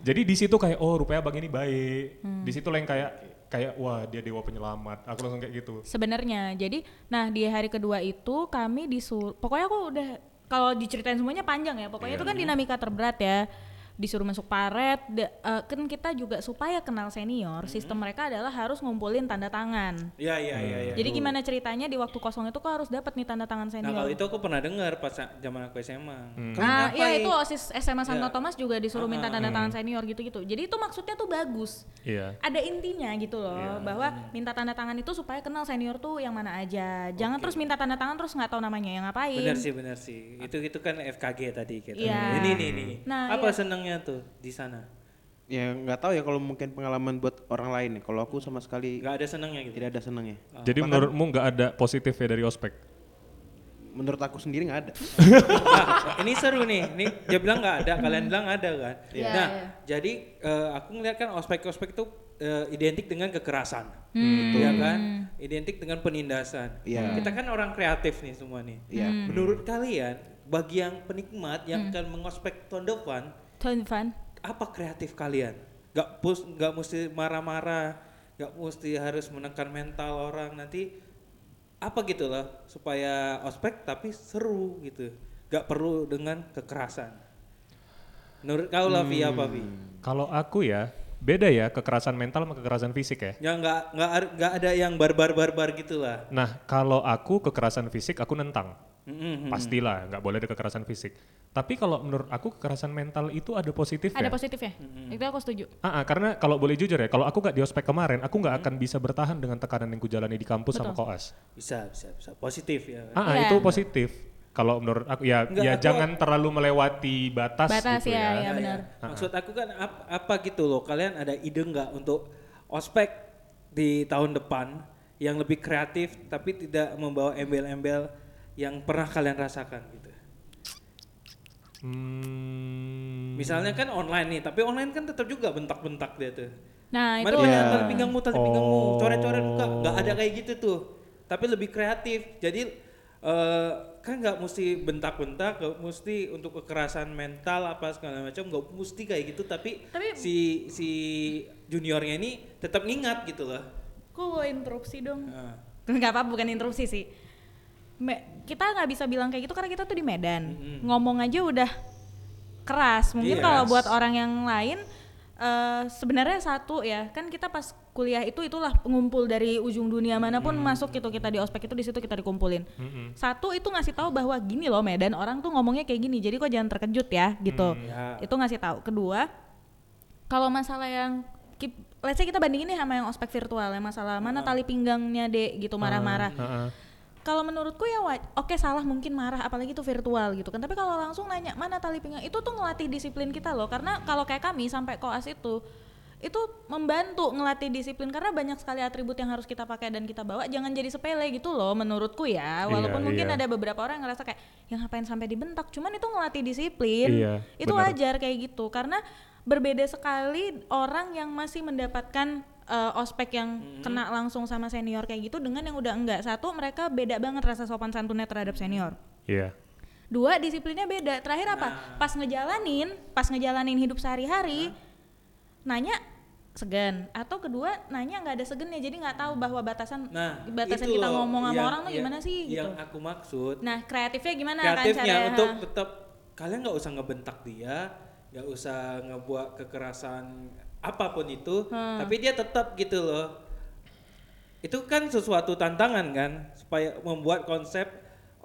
jadi di situ kayak oh rupanya bang ini baik Hmm. di situ lah yang kayak kayak wah dia dewa penyelamat aku langsung kayak gitu Sebenarnya. Jadi, nah di hari kedua itu kami disuruh. Pokoknya aku udah kalau diceritain semuanya panjang ya. Iya, Pokoknya itu kan dinamika terberat ya. Disuruh masuk paret. de- eh, kan kita juga supaya kenal senior. Mm-hmm. Sistem mereka adalah harus ngumpulin tanda tangan. Iya iya iya iya. Jadi gimana ceritanya di waktu kosong itu kok harus dapat nih tanda tangan Nah, kalau senior. itu aku pernah dengar pas sa- zaman aku SMA. Hmm. Kamu iya. Nah, iya ngapain? itu OSIS SMA Santo Ya. Thomas juga disuruh minta Hmm. tanda tangan senior gitu-gitu. Jadi itu maksudnya tuh bagus. iya ada intinya gitu loh Ya. Hmm. bahwa minta tanda tangan itu supaya kenal senior tuh yang mana aja jangan terus minta tanda tangan terus nggak tahu namanya yang ngapain Benar sih, benar sih. Itu itu kan FKG tadi kita. Iya. Ini ini ini. Nah, Apa iya. senangnya tuh di sana? Ya nggak tahu ya kalau mungkin pengalaman buat orang lain ya. Kalau aku sama sekali Enggak ada senangnya gitu. tidak ada senangnya. jadi menurutmu nggak ada positifnya dari ospek Menurut aku sendiri nggak ada. Nah, ini seru nih. Ini dia bilang nggak ada, kalian bilang ada kan. Hmm. Iya, Nah, iya. jadi eh, aku ngeliat kan ospek-ospek itu eh, identik dengan kekerasan, Hmm. ya kan? Identik dengan penindasan. Iya. Kita kan orang kreatif nih semua nih. [LAUGHS] Iya. Hmm. Menurut kalian, bagi yang penikmat yang akan mengospek tahun depan, Tuan Van apa kreatif kalian? Gak pus, gak mesti marah-marah, gak mesti harus menekan mental orang nanti apa gitu loh supaya ospek tapi seru gitu, gak perlu dengan kekerasan. Menurut kau lah Vi apa Vi? kalau aku ya beda ya kekerasan mental sama kekerasan fisik ya Ya nggak nggak ar- nggak ada yang barbar-barbar gitu lah. nah kalau aku kekerasan fisik aku nentang Mm-mm. pastilah nggak boleh ada kekerasan fisik tapi kalau menurut aku kekerasan mental itu ada positifnya ada positifnya Hmm. itu aku setuju Ah, ah, karena kalau boleh jujur ya kalau aku nggak diospek kemarin aku Mm. nggak akan bisa bertahan dengan tekanan yang kujalani di kampus sama koas Bisa bisa bisa positif ya. ah, ah, Iya. itu positif kalau menurut aku ya Nggak, ya aku- jangan terlalu melewati batas, Batas, gitu ya, ya, ya. Iya, benar. iya. Maksud aku kan ap- apa gitu loh, kalian ada ide nggak untuk ospek di tahun depan yang lebih kreatif tapi tidak membawa embel-embel yang pernah kalian rasakan gitu. Hmm, Misalnya kan online nih, tapi online kan tetap juga bentak-bentak dia tuh. nah Mari itu kita Ya. Iya. tarik pinggangmu, tarik pinggangmu, Oh. coret-coret muka, nggak ada kayak gitu tuh. Tapi lebih kreatif. Jadi eh, kan nggak mesti bentak-bentak, nggak mesti untuk kekerasan mental apa segala macam, nggak mesti kayak gitu. Tapi, Tapi- si si juniornya ini tetap ngingat gitu loh. aku mau interupsi dong Nah, [LAUGHS] nggak apa bukan interupsi sih Me- kita nggak bisa bilang kayak gitu karena kita tuh di Medan ngomong aja udah keras Iya. mungkin kalau buat orang yang lain eh, eh, sebenarnya satu ya kan kita pas kuliah itu itulah pengumpul dari ujung dunia manapun masuk gitu kita di ospek itu di situ kita dikumpulin satu itu ngasih tahu bahwa gini loh Medan orang tuh ngomongnya kayak gini jadi kok jangan terkejut ya gitu Ya. itu ngasih tahu kedua kalau masalah yang ki- let's say kita bandingin nih sama yang ospek virtual yang masalah mana Ah. tali pinggangnya dek gitu marah-marah Heeh. kalau menurutku ya wa- oke salah mungkin marah apalagi itu virtual gitu kan tapi kalau langsung nanya mana tali pinggang itu tuh ngelatih disiplin kita loh karena kalau kayak kami sampai koas itu itu membantu ngelatih disiplin karena banyak sekali atribut yang harus kita pakai dan kita bawa jangan jadi sepele gitu loh menurutku ya walaupun Iya, mungkin iya. ada beberapa orang yang ngerasa kayak yang ngapain sampai dibentak cuman itu ngelatih disiplin Iya, itu benar. wajar kayak gitu karena berbeda sekali orang yang masih mendapatkan eh, ospek yang kena langsung sama senior kayak gitu dengan yang udah enggak satu mereka beda banget rasa sopan santunnya terhadap senior Iya. dua disiplinnya beda terakhir apa Nah. pas ngejalanin pas ngejalanin hidup sehari-hari Nah. nanya segan atau kedua nanya nggak ada segennya jadi nggak tahu bahwa batasan Nah, batasan itu kita loh ngomong sama yang- orang tuh yang- gimana sih gitu Yang aku maksud nah kreatifnya gimana kan kreatifnya caranya untuk Ha. tetap kalian nggak usah ngebentak dia nggak usah ngebuat kekerasan apapun itu Hmm. tapi dia tetap gitu loh itu kan sesuatu tantangan kan supaya membuat konsep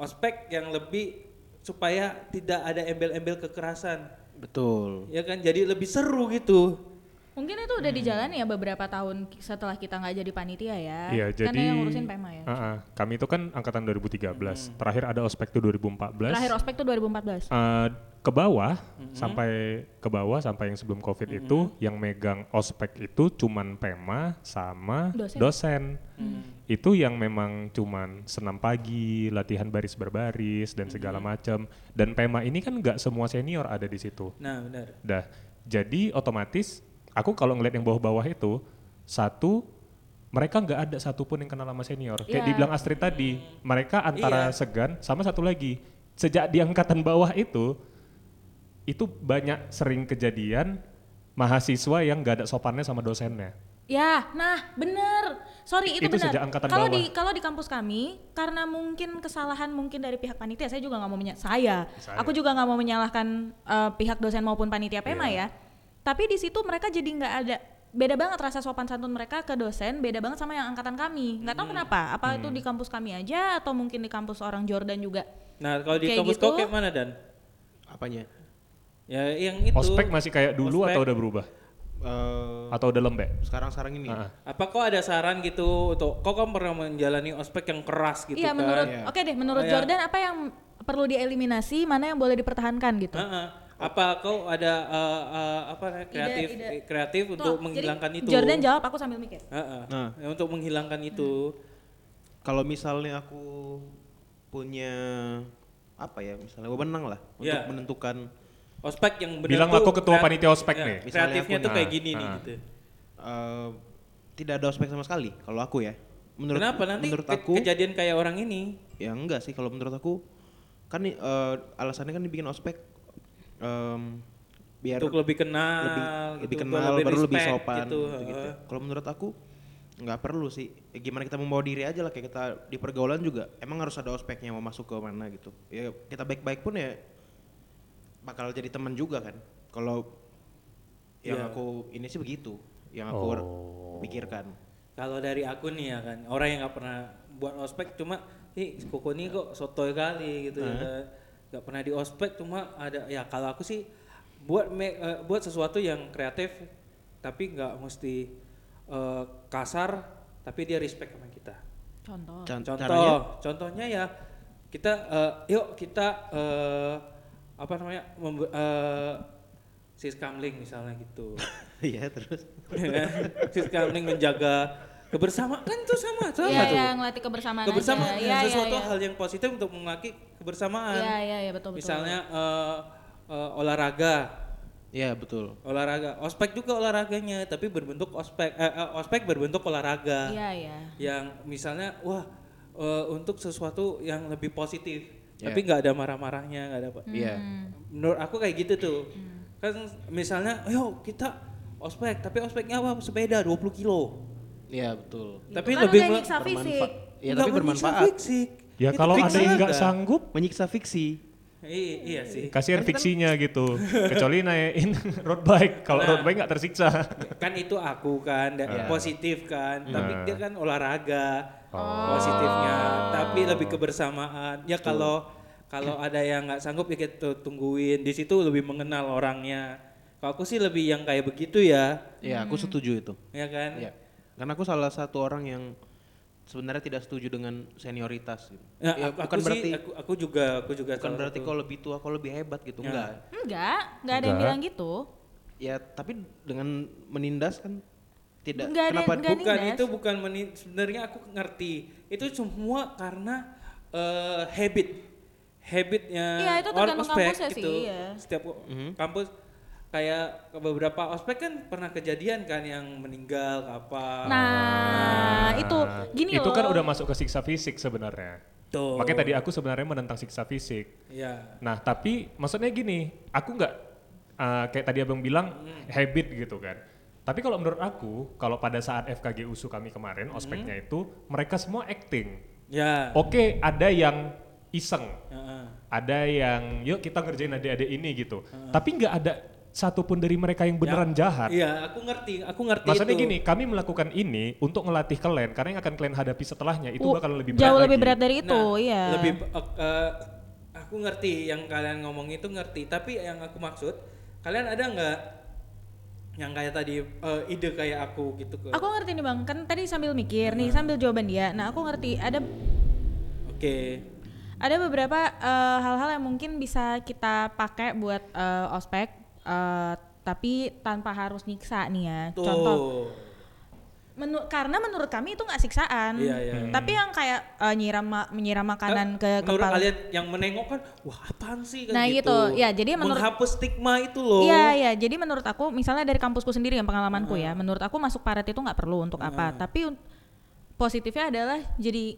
ospek yang lebih supaya tidak ada embel-embel kekerasan Betul. ya kan jadi lebih seru gitu Mungkin itu udah Hmm. dijalani ya beberapa tahun ki- setelah kita nggak jadi panitia ya. Iya, Kan jadi yang ngurusin PEMA ya. Hmm. Heeh. kami itu kan angkatan 2013. Terakhir ada ospek tuh 2014. Terakhir Hmm. ospek tuh 2014. Eh, ke bawah sampai ke bawah sampai yang sebelum covid Hmm. itu yang megang ospek itu cuman pema sama Dosen. Hmm. dosen, itu yang memang cuman senam pagi latihan baris berbaris dan segala Hmm. macam dan pema ini kan nggak semua senior ada di situ nah benar Dah, jadi otomatis aku kalau ngeliat yang bawah-bawah itu satu mereka nggak ada satupun yang kenal sama senior. Kayak Iya. dibilang Astrid tadi, mereka antara Iya. segan sama satu lagi sejak di angkatan bawah itu itu banyak sering kejadian mahasiswa yang nggak ada sopannya sama dosennya. Ya, nah bener. Sorry itu, Itu bener. sejak angkatan kalau bawah. di kalau di kampus kami karena mungkin kesalahan mungkin dari pihak panitia, saya juga nggak mau menya- saya. Saya. Aku juga nggak mau menyalahkan eh, pihak dosen maupun panitia PEMA Iya. ya. Tapi di situ mereka jadi nggak ada beda banget rasa sopan santun mereka ke dosen beda banget sama yang angkatan kami nggak tahu Hmm. kenapa apa itu di kampus kami aja atau mungkin di kampus orang Jordan juga nah kalau di Kayak kampus gitu. kau kayak mana dan Apanya? ya yang itu Ospek masih kayak Ospek. dulu Oh. atau udah berubah? Eh, Atau udah lembek? sekarang sekarang ini. Ah, ah. apa kau ada saran gitu untuk kau kan pernah menjalani ospek yang keras gitu iya kan menurut Iya. oke deh menurut Kayak- Jordan apa yang perlu dieliminasi mana yang boleh dipertahankan gitu Heeh. Apa kau ada eh, eh, apa kreatif ide. eh, kreatif Tuh, untuk jadi menghilangkan itu? Jordan jawab aku sambil mikir Heeh. Nah. Ya, Untuk menghilangkan itu. Kalau misalnya aku punya apa ya misalnya wewenang lah untuk Iya. menentukan Ospek yang benar Bilang tuh aku ketua kreat- panitia ospek ya, nih. Misalnya Kreatifnya aku tuh nih. kayak gini Ah, nih ah. gitu. eh, tidak ada ospek sama sekali kalau aku ya. Menurut Kenapa nanti menurut ke- aku kejadian kayak orang ini? ya enggak sih kalau menurut aku kan nih, eh, alasannya kan dibikin ospek em, biar Untuk lebih kenal, ya, lebih, gitu, buat lebih kenal baru lebih respect sopan gitu. gitu-gitu. heeh. Kalau menurut aku nggak perlu sih. Ya, gimana kita membawa diri aja lah kayak kita di pergaulan juga emang harus ada ospeknya mau masuk ke mana gitu. Ya kita baik-baik pun ya bakal jadi teman juga kan. Kalau yang Iya. aku ini sih begitu yang aku Oh. pikirkan. Kalau dari aku nih ya kan, orang yang nggak pernah buat ospek cuma ih koko ini kok sotoy kali gitu ya kan. Nggak pernah di ospek cuma ada ya kalau aku sih buat me- eh, buat sesuatu yang kreatif tapi nggak mesti eh, kasar tapi dia respect sama kita. contoh Can- Contoh, caranya [LAUGHS] contohnya ya kita eh, yuk kita eh, apa namanya membu- eh, siskamling misalnya gitu. Iya terus. [LAUGHS] Siskamling menjaga kebersamaan kan itu sama sama iya tuh. ya ngelatih kebersamaan, kebersamaan aja Iya, iya, sesuatu iya. hal yang positif untuk mengaki kebersamaan. iya iya iya betul betul Misalnya eh, eh, olahraga, Iya betul. olahraga, ospek juga olahraganya, tapi berbentuk ospek, eh, eh, ospek berbentuk olahraga iya iya yang misalnya wah eh, untuk sesuatu yang lebih positif, Iya. tapi nggak ada marah-marahnya, nggak ada apa. Hmm. Iya. Menurut aku kayak gitu tuh. Kan misalnya, ayo kita ospek, tapi ospeknya apa? Sepeda 20 kilo. Iya betul. Tapi kan lebih udah mele- nyiksa fisik Bermanfaat. Iya nggak tapi menyiksa bermanfaat. fisik. Ya Itu kalau ada yang olahraga. nggak sanggup, Menyiksa fiksi. I- iya sih. Kasihan fiksinya [LAUGHS] gitu. Kecuali naikin [LAUGHS] road bike. Kalau Nah. road bike nggak tersiksa. kan itu aku kan, da- Iya. positif kan. Tapi dia kan olahraga Oh. positifnya. Tapi lebih kebersamaan. Ya kalau kalau ada yang nggak sanggup ya kita tungguin. Di situ lebih mengenal orangnya. Kalau aku sih lebih yang kayak begitu ya, Ya, aku setuju itu. ya kan? Ya. Karena aku salah satu orang yang sebenarnya tidak setuju dengan senioritas gitu. Nah, Ya, aku, bukan aku berarti sih, aku, aku juga, aku juga. bukan salah berarti satu. kau lebih tua, kau lebih hebat gitu. Ya. Enggak. Enggak, enggak ada yang Enggak. bilang gitu. Ya, tapi dengan menindas kan tidak Enggak ada- kenapa enggak ada- bukan Nindas. itu bukan meni- sebenarnya aku ngerti itu semua karena eh, habit habitnya Iya, itu orang tergantung ospek kampusnya sih, gitu iya. setiap Mhm. kampus kayak beberapa ospek kan pernah kejadian kan yang meninggal apa Ah. Nah, itu gini Itu loh. kan udah masuk ke siksa fisik sebenarnya. Tuh. Makanya tadi aku sebenarnya menentang siksa fisik. ya Nah, tapi maksudnya gini, aku nggak uh, kayak tadi abang bilang habit gitu kan. Tapi kalau menurut aku, kalau pada saat FKG USU kami kemarin, ospeknya itu mereka semua acting. ya Oke, ada yang iseng, Heeh. ada yang yuk kita ngerjain adik-adik ini gitu. Tapi nggak ada satupun dari mereka yang beneran jahat. iya aku ngerti aku ngerti Maksudnya itu. gini, kami melakukan ini untuk ngelatih kalian karena yang akan kalian hadapi setelahnya itu Uh, bakal lebih berat jauh lebih lagi. berat dari itu, Nah, iya. Lebih eh, eh, aku ngerti yang kalian ngomong itu ngerti, tapi yang aku maksud kalian ada nggak yang kayak tadi eh, ide kayak aku gitu ke? Aku ngerti nih Bang, kan tadi sambil mikir nih, sambil jawaban dia. Nah, aku ngerti ada Oke. ada beberapa eh, hal-hal yang mungkin bisa kita pakai buat eh, ospek eh, tapi tanpa harus nyiksa nih ya. Tuh. Contoh Menu- karena menurut kami itu nggak siksaan. Iya, iya. Tapi yang kayak eh, nyiram ma- menyiram makanan Kan ke Menurut kepala. kalian yang menengok kan, wah apaan sih kan Nah, gitu. gitu. Ya, jadi menurut- menghapus stigma itu loh. Iya iya. Jadi menurut aku misalnya dari kampusku sendiri yang pengalamanku Hmm. ya, menurut aku masuk paret itu nggak perlu untuk apa. Tapi un- positifnya adalah jadi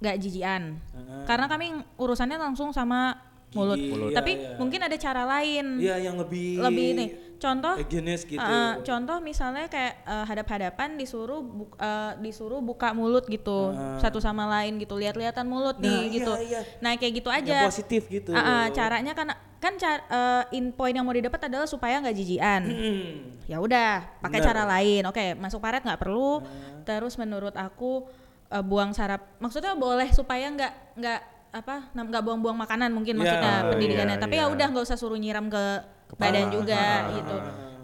nggak jijian. Karena kami urusannya langsung sama mulut. Hmm. Gigi, Mulut. Tapi iya, iya. mungkin ada cara lain. Iya, yang lebih Lebih nih. Contoh Against gitu. Uh, contoh misalnya kayak uh, hadap-hadapan disuruh buk- uh, disuruh buka mulut gitu satu sama lain gitu lihat-lihatan mulut Nah, iya, nih gitu. iya. Nah kayak gitu aja. Yang positif gitu. Uh, uh, caranya kan kan car- uh, in point yang mau didapat adalah supaya nggak jijian. Hmm. Ya udah pakai Bener. cara lain. Oke masuk paret nggak perlu. Terus menurut aku uh, buang sarap maksudnya boleh supaya nggak nggak apa nam- nggak buang-buang makanan Ya, mungkin maksudnya iya, pendidikannya. Tapi ya iya. udah nggak usah suruh nyiram ke Kepala. badan juga Ah. gitu.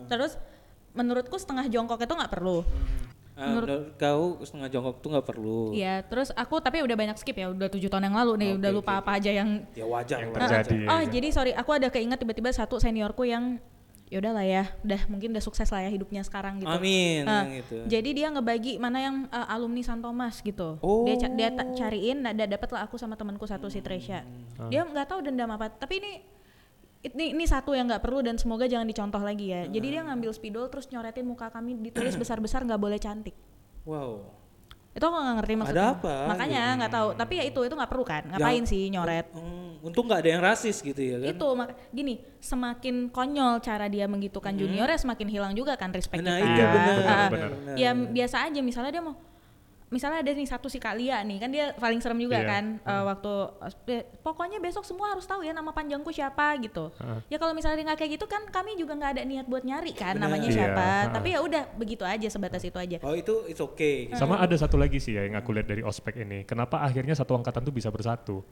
Terus menurutku setengah jongkok itu nggak perlu. Ah, menurut kau setengah jongkok tuh nggak perlu. Iya, terus aku tapi udah banyak skip ya, udah tujuh tahun yang lalu nih, udah lupa apa aja yang. Ya wajar Yang lah. terjadi. Oh jadi sorry, aku ada keinget tiba-tiba satu seniorku yang yaudah lah ya, udah mungkin udah sukses lah ya hidupnya sekarang gitu. Amin Ah, yang itu. Jadi dia ngebagi mana yang eh, alumni San Thomas gitu. Dia ca- dia ta- Oh. cariin, nah, da- dapet lah aku sama temanku satu si Tresya. Hmm. Ah. Dia nggak tahu dendam apa, tapi ini ini, ini satu yang nggak perlu dan semoga jangan dicontoh lagi ya. Jadi dia Hmm. ngambil spidol terus nyoretin muka kami ditulis besar-besar nggak boleh cantik. Wow. Itu aku nggak ngerti maksudnya. apa? Iya. Makanya nggak tahu. Tapi ya itu itu nggak perlu kan? Ngapain sih nyoret? Hmm, untung nggak ada yang rasis gitu ya kan? Itu mak gini, semakin konyol cara dia menggitukan juniornya semakin hilang juga kan respect Hmm. Nah, kita. itu Iya, benar, benar, Ah, benar. Ya biasa aja misalnya dia mau misalnya ada nih satu si Kalia nih kan dia paling serem juga Iya. kan Hmm. eh, waktu eh, pokoknya besok semua harus tahu ya nama panjangku siapa gitu Ah. ya kalau misalnya dia nggak kayak gitu kan kami juga nggak ada niat buat nyari kan namanya Iya, siapa ah. tapi ya udah begitu aja sebatas itu aja Oh itu it's okay. gitu. Hmm. Sama ada satu lagi sih ya yang aku lihat dari ospek ini. Kenapa akhirnya satu angkatan tuh bisa bersatu?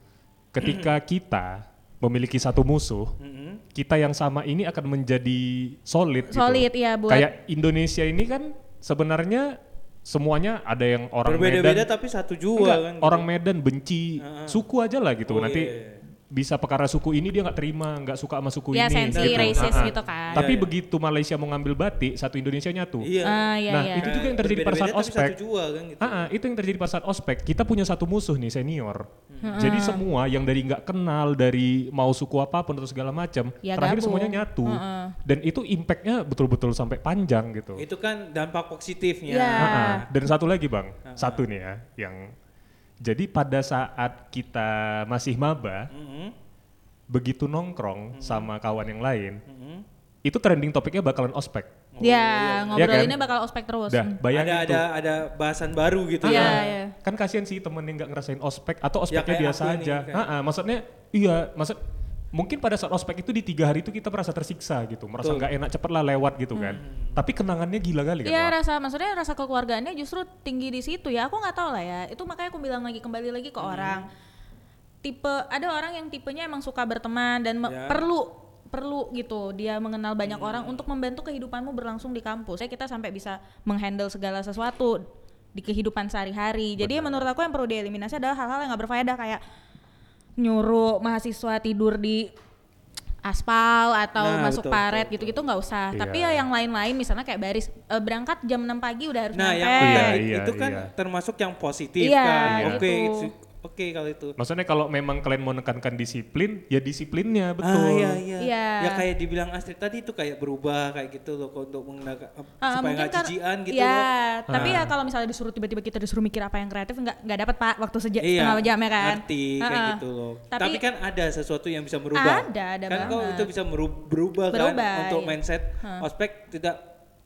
[CLEARS THROAT] Ketika kita memiliki satu musuh, Hmm. kita yang sama ini akan menjadi solid. gitu. Solid, iya, buat- Kayak Indonesia ini kan sebenarnya semuanya ada yang orang Berbeda-beda Medan. tapi satu jua Enggak, kan. orang Medan benci suku aja lah gitu. Oh, Nanti iya. bisa perkara suku ini dia nggak terima, nggak suka sama suku ya ini. sensi gitu. racist Ah, ah. gitu kan Tapi Iya, iya. begitu Malaysia mau ngambil batik, satu Indonesia nyatu. Iya. Ah, iya, Nah, iya. itu juga yang terjadi pada saat Berbeda-beda tapi ospek. Satu jua kan gitu. Ah, ah, itu yang terjadi pada saat ospek. Kita punya satu musuh nih senior. Jadi semua yang dari nggak kenal, dari mau suku apapun atau segala macam, Ya, terakhir gabung. semuanya nyatu. Heeh. Dan itu impactnya betul-betul sampai panjang gitu. Itu kan dampak positifnya. Iya. Ah, ah. Dan satu lagi bang, satu nih ya, yang jadi pada saat kita masih maba, Mm-mm. begitu Hmm. nongkrong sama kawan yang lain, itu trending topiknya bakalan ospek. Iya. ya ngobrolinnya Iya kan? bakal ospek terus Hmm. Dah, Ada bayangin tuh. ada ada bahasan baru gitu Iya, ya. iya. kan kasihan sih temen yang nggak ngerasain ospek atau ospeknya kayak biasa aku nih, aja. kayak- Ah, ah, maksudnya iya, maksud mungkin pada saat ospek itu di tiga hari itu kita merasa tersiksa gitu, merasa Betul. Hmm. nggak enak cepatlah lewat gitu kan. Tapi kenangannya gila kali kan. Iya Wak? rasa maksudnya rasa kekeluargaannya justru tinggi di situ ya. Aku nggak tahu lah ya. Itu makanya aku bilang lagi kembali lagi ke orang. Tipe ada orang yang tipenya emang suka berteman dan me- Ya. perlu perlu gitu dia mengenal banyak orang untuk membantu kehidupanmu berlangsung di kampus. Ya kita sampai bisa menghandle segala sesuatu di kehidupan sehari-hari. Jadi menurut aku yang perlu dieliminasi adalah hal-hal yang nggak berfaedah kayak nyuruh mahasiswa tidur di aspal atau Nah, masuk betul, paret gitu-gitu nggak usah. Iya. Tapi ya yang lain-lain misalnya kayak baris eh, berangkat jam 6 pagi udah harus Nah, yang nyampe. Eh, Iya, penting iya, itu kan iya. termasuk yang positif Iya, kan. Iya. Oke, gitu. it's- oke kalau itu. Maksudnya kalau memang kalian mau menekankan disiplin, ya disiplinnya betul. Ah, iya, iya. Iya. Ya kayak dibilang Astrid tadi itu kayak berubah kayak gitu loh untuk mengenakan Ah, supaya nggak kar- jijian gitu Iya, loh. Ah. tapi ya kalau misalnya disuruh tiba-tiba kita disuruh mikir apa yang kreatif nggak nggak dapat Pak waktu sejak Iya, setengah jam ya kan. ngerti kayak Heeh. gitu loh. Tapi, Tapi, kan ada sesuatu yang bisa merubah. Ada, ada kan kau banget. itu bisa meru- berubah, Berubah, kan untuk iya. mindset ospek tidak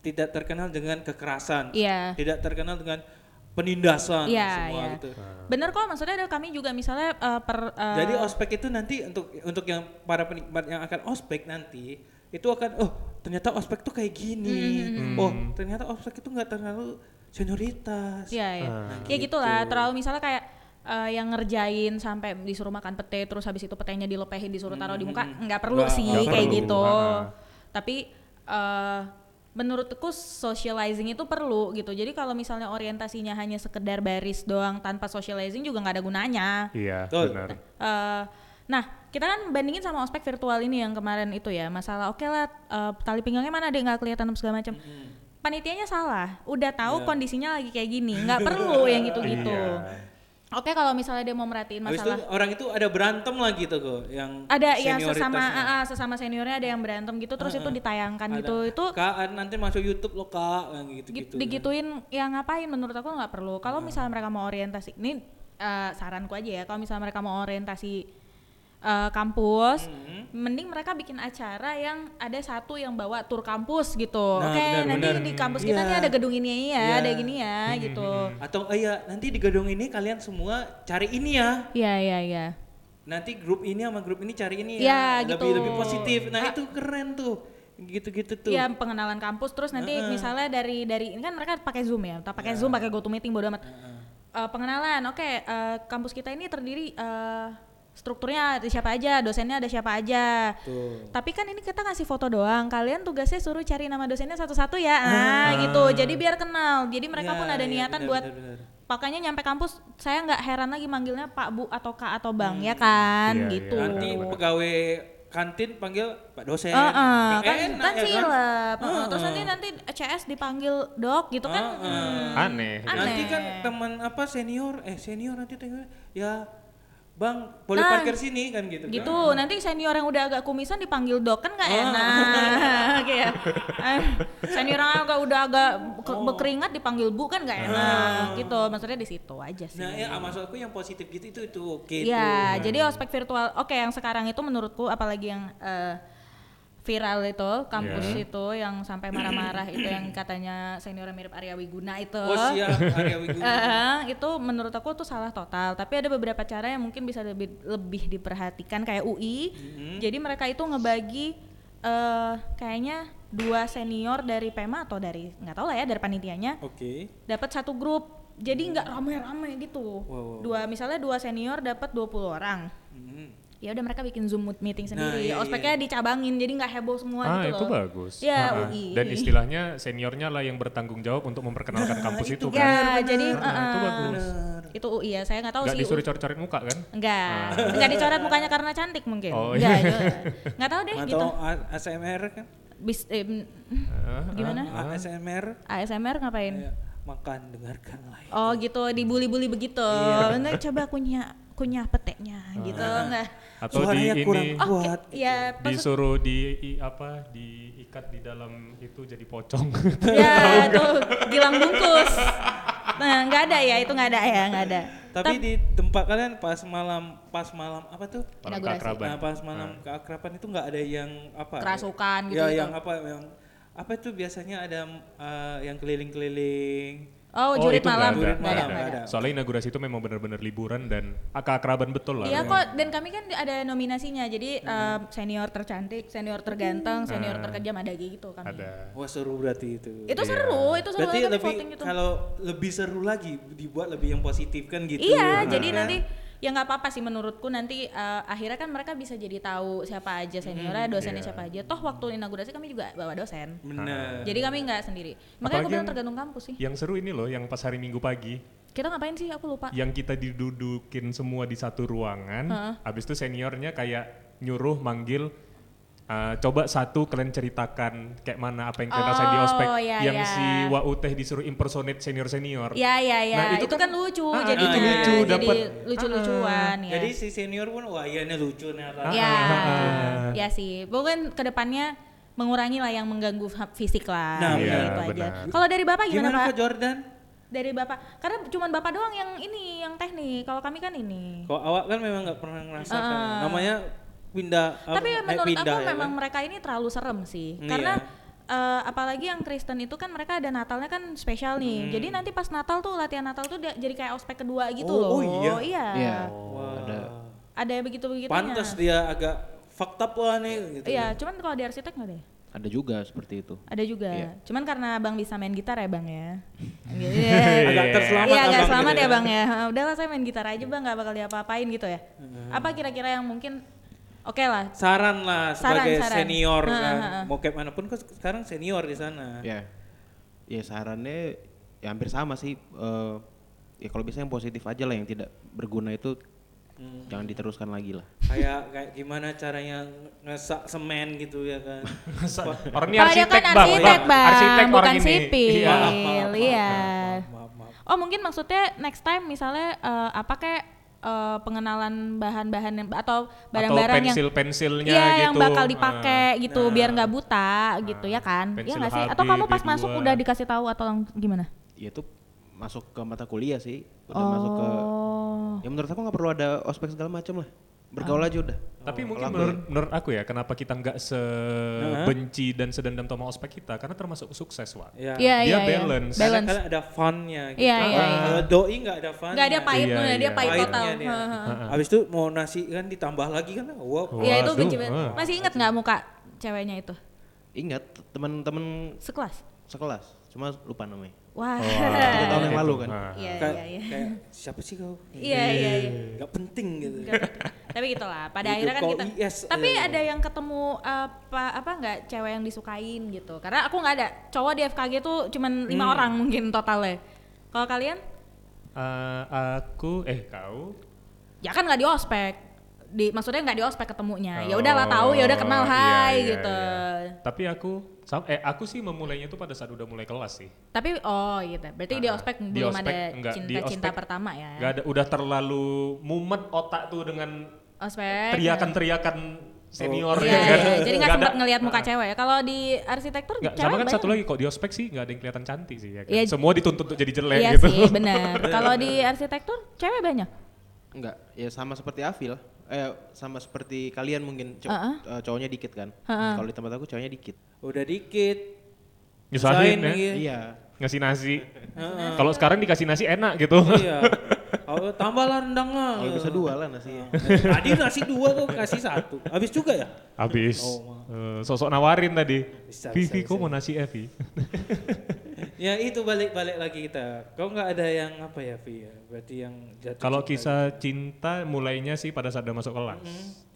tidak terkenal dengan kekerasan, Iya. tidak terkenal dengan penindasan Iya, semua iya. gitu. bener kok maksudnya ada kami juga misalnya eh, per eh, Jadi ospek itu nanti untuk untuk yang para penikmat yang akan ospek nanti itu akan oh ternyata ospek tuh kayak Hmm, gini. Oh, ternyata ospek itu nggak terlalu senioritas. Iya, iya. Ah. Nah, ya Gitu. gitulah, terlalu misalnya kayak eh, yang ngerjain sampai disuruh makan pete terus habis itu petenya dilepehin disuruh taruh di muka nggak perlu Nggak- sih nggak kayak perlu. gitu. Ah. Tapi eh, menurutku socializing itu perlu gitu. Jadi kalau misalnya orientasinya hanya sekedar baris doang tanpa socializing juga nggak ada gunanya. Iya, Betul. benar. Eh, nah, kita kan bandingin sama ospek virtual ini yang kemarin itu ya, masalah oke lah eh, tali pinggangnya mana deh nggak kelihatan apa segala macam. Panitianya salah, udah Iya. tahu kondisinya lagi kayak gini, nggak [LAUGHS] perlu yang gitu-gitu. Iya. Oke, kalau misalnya dia mau merhatiin Habis itu masalah orang itu ada berantem lagi tuh kok yang ada yang senioritasnya. sesama ah, ah, sesama seniornya ada yang berantem gitu terus itu ditayangkan Ada, gitu. Itu Kak, nanti masuk YouTube lo Kak, yang gitu-gitu. gitu, digituin ya ngapain menurut aku nggak perlu kalau Nah. misalnya mereka mau orientasi ini eh, saranku aja ya kalau misalnya mereka mau orientasi eh, kampus Mm-hmm. mending mereka bikin acara yang ada satu yang bawa tur kampus gitu Nah, oke benar, nanti benar. di kampus kita Iya. nih ada gedung ini ya Iya. ada gini ya gitu Atau eh, ya nanti di gedung ini kalian semua cari ini ya. Iya iya iya Nanti grup ini sama grup ini cari ini Ya, ya. gitu. Lebih lebih positif. Nah, itu keren tuh. Gitu-gitu tuh. Iya pengenalan kampus terus nanti misalnya dari dari ini kan mereka pakai zoom ya, entah Iya. pakai zoom pakai GoToMeeting bodo amat. Eh, pengenalan, oke eh, kampus kita ini terdiri eh, strukturnya ada siapa aja, dosennya ada siapa aja. Tuh. Tapi kan ini kita ngasih foto doang. Kalian tugasnya suruh cari nama dosennya satu-satu ya, ah gitu. Jadi biar kenal. Jadi mereka Ya, pun ada iya, niatan benar, buat benar, benar. makanya nyampe kampus saya nggak heran lagi manggilnya Pak Bu atau Kak atau Bang Hmm. ya kan Iya, iya, gitu. Nanti pegawai kantin panggil Pak dosen. Heeh, Nggak kan, enak kan ya silap. Heeh, Terus nanti nanti CS dipanggil dok gitu kan. hmm, Aneh. Nanti Aneh. kan teman apa senior, eh senior nanti tengok ya Bang, boleh Nah, parkir sini kan gitu. Gitu, nanti senior yang udah agak kumisan dipanggil dok kan nggak enak, [LAUGHS] kayak eh, senior yang agak udah agak ke- Oh. berkeringat dipanggil bu kan nggak enak, gitu. Maksudnya di situ aja sih. Nah, ya maksud aku yang positif gitu itu itu oke Iya, jadi ospek virtual. Oke, yang sekarang itu menurutku apalagi yang eh, viral itu kampus Iya. itu yang sampai marah-marah itu yang katanya seniornya mirip Arya Wiguna itu. tuh. Oh siap, Arya Wiguna. Eh, itu menurut aku tuh salah total tapi ada beberapa cara yang mungkin bisa lebih lebih diperhatikan kayak UI Mm-hmm. jadi mereka itu ngebagi eh kayaknya dua senior dari PEMA atau dari nggak tahu lah ya dari panitianya Oke. dapat satu grup jadi nggak rame-rame gitu Mm-hmm. Wow. dua misalnya dua senior dapat 20 orang Mm. ya udah mereka bikin zoom meeting Nah, sendiri iya, ospeknya dicabangin jadi nggak heboh semua Ah, gitu itu loh bagus. ya Ah, ah. UI Dan istilahnya seniornya lah yang bertanggung jawab untuk memperkenalkan [LAUGHS] kampus itu, ya kan. jadi Nah, Ah, itu eh, bagus. itu UI ya saya nggak tahu Gak sih disuruh cor-corin muka kan? Enggak, enggak dicoret mukanya karena cantik mungkin. Oh, enggak, enggak. Enggak tahu deh gitu. Atau A- ASMR kan? Bis, eh, mm, Ah, gimana? ASMR ASMR ngapain? ya, makan dengarkan lain. Oh gitu, dibully-bully begitu. Enggak, coba kunyah kunyah peteknya gitu. Enggak. Atau di Suaranya ini kurang Oh, kuat. ki- ya maksud disuruh Ah. di i- apa diikat di dalam itu jadi pocong. [LAUGHS] ya tuh gilang bungkus. Nah, enggak ada ya, itu enggak ada ya, enggak ada. Tapi di tempat kalian pas malam pas malam apa tuh? Malam Inaugurasi. keakraban. Nah, pas malam keakraban itu nggak ada yang apa? Kerasukan gitu. Ya gitu-gitu. yang apa yang apa itu biasanya ada eh, yang keliling-keliling. [LAUGHS] Oh, jurit itu nggak malam. ada, Jurit nggak malam, ada. nggak ada. Soalnya inaugurasi itu memang benar-benar liburan dan akrab-akraban betul lah. Iya kok, dan kami kan ada nominasinya, jadi eh, senior tercantik, senior terganteng, senior Hmm. Ah. terkejam ada gitu kami. Ada. Wah seru berarti itu. Itu seru, itu seru berarti banget lebih voting gitu. itu. kalau lebih seru lagi dibuat lebih yang positif kan gitu. Nah, Iya, jadi kan? nanti ya nggak apa-apa sih menurutku nanti eh, akhirnya kan mereka bisa jadi tahu siapa aja seniornya, dosennya iya. siapa aja. Toh waktu inaugurasi kami juga bawa Iya. dosen. benar. Jadi kami nggak sendiri. Makanya Apalagi aku bilang yang- tergantung kampus sih. Yang seru ini loh, yang pas hari Minggu pagi, Kita ngapain sih? Aku lupa. yang kita didudukin semua di satu ruangan, habis itu seniornya kayak nyuruh manggil "Ah, coba satu kalian ceritakan kayak mana apa yang kalian rasain di Oh, ospek iya, yang iya. si Wau teh disuruh impersonate senior senior. Ya ya ya. Nah, itu, itu kan, lucu Ah, ah, jadinya. itu lucu, Ah, jadi dapet. lucu-lucuan ya. Jadi si senior pun wah iya ini lucu nih apa. ya. ah, ah. Ya sih. Mungkin kedepannya mengurangi lah yang mengganggu ha- fisik lah. Nah, gitu iya, aja. benar. Kalau dari Bapak gimana, Gimana Pak? Pak Jordan? Dari Bapak. Karena cuman Bapak doang yang ini yang teknik. Kalau kami kan ini. Kalau awak kan memang nggak pernah ngerasakan. Ah. Namanya pindah. Tapi apa, eh, menurut pindah, aku ya memang kan? mereka ini terlalu serem sih. Iya. Karena eh, apalagi yang Kristen itu kan mereka ada Natalnya kan spesial Hmm. nih. Jadi nanti pas Natal tuh latihan Natal tuh dia- jadi kayak ospek kedua gitu Oh, loh. oh iya. iya. Wah. Ada yang begitu-begitunya. Pantas dia agak fucked up lah nih gitu. Iya, cuman kalau di arsitek nggak deh? Ada juga seperti itu. Ada juga. Iya. Cuman karena Bang bisa main gitar ya, Bang [LAUGHS] ya. Iya, Agak terselamat Iya, agak abang selamat gitu ya, Bang ya. Ha, Udahlah saya main gitar aja, Bang, nggak bakal diapa-apain gitu ya. Hmm. Apa kira-kira yang mungkin oke lah. Saran lah Saran, sebagai saran. senior Ha, kan. ha, ha. Mau kayak manapun kan sekarang senior di sana. Iya. Ya. Ya sarannya ya hampir sama sih. eh, ya kalau bisa yang positif aja lah yang tidak berguna itu Hmm. jangan diteruskan lagi lah. kayak kayak gimana caranya ngesak semen gitu ya [LAUGHS] kan orang ini Kalau dia arsitek, kan arsitek, Bang. Bang. Arsitek bukan orang ini. sipil. Iya. Maaf, maaf, maaf, Iya. maaf, maaf. Oh, mungkin maksudnya next time misalnya eh, apa kayak eh, pengenalan bahan-bahan yang- atau Atau barang-barang yang pensil-pensilnya Iya, gitu. yang bakal Ah. dipakai gitu biar nggak buta gitu ya kan? Iya Pensil gitu nggak sih? HB, Atau kamu pas B2. masuk udah dikasih tahu atau lang- gimana? Ya itu masuk ke mata kuliah sih. Udah masuk ke Oh. Ah. Ya menurut aku nggak perlu ada ospek segala macam lah. Bergaul aja udah. Tapi mungkin menurut, menurut aku ya, kenapa kita nggak sebenci dan sedendam sama ospek kita? Karena termasuk sukses, Wak. ya Iya, Dia iya, iya. balance. karena Balance. kadang ada funnya gitu Iya, iya, iya. kalau doi nggak ada funnya Nggak ada pahit, Iya, bener, dia iya. pahit total. ya? Pahitnya dia. Heeh. abis itu mau nasi kan ditambah lagi kan wow Ah. Wah, Iya itu aduh, benci banget. ah. Masih inget nggak muka ceweknya itu? Ingat teman-teman Sekelas. sekelas, cuma lupa namanya. Wah. Oh, [LAUGHS] Tiga tahun yang lalu kan. Ah. Iya Kayak- iya iya. kayak siapa sih kau Iya iya iya. nggak penting gitu Tapi gitulah. Pada Hidup akhirnya kan kau kita. IS, Tapi eh. ada yang ketemu apa apa nggak cewek yang disukain gitu? Karena aku nggak ada. Cowok di FKG tuh cuman lima Hmm. orang mungkin totalnya. Kalau kalian? Eh, aku, eh kau, Ya kan nggak di ospek. Di, maksudnya nggak di ospek ketemunya. Ya Oh, udahlah tahu, ya udah kenal, iya, hai iya, gitu. iya. Tapi aku sam- eh aku sih memulainya tuh pada saat udah mulai kelas sih. Tapi oh gitu. Berarti di Ah, ospek di belum ospek ada enggak, di cinta-cinta ospek pertama ya. Gak ada udah terlalu mumet otak tuh dengan Ospek. teriakan-teriakan senior Eh, Iya, kan. iya. Jadi nggak ada- sempat ngelihat muka Ah. cewek ya. Kalau di arsitektur Nggak, cewek sama kan banyak. satu lagi kok di ospek sih nggak ada yang kelihatan cantik sih ya kan? Iya. Semua dituntut untuk jadi jelek Iya gitu. sih, benar. Kalau di arsitektur cewek banyak. Enggak, ya sama seperti Afil. Eh sama seperti kalian mungkin cow- Heeh. eh, cowoknya dikit kan. Heeh. Kalau di tempat aku cowoknya dikit. udah dikit Nyusahin ya. gitu. Iya. [LAUGHS] Ngasih nasi. Kalau sekarang dikasih nasi enak gitu. iya Oh, tambahlah rendangnya Oh, Iya. Kalau bisa dua lah ya. nasinya. tadi nasi dua kok kasih satu habis juga [LAUGHS] ya Habis. Eh, sosok nawarin tadi. Oh, Bisa, bisa, Vivi, bisa. kok mau nasi Evi? ya itu balik-balik lagi kita kau nggak ada yang apa ya Vi ya berarti yang jatuh Kalau cinta gitu. Mm-hmm. kisah cinta mulainya sih pada saat udah masuk kelas.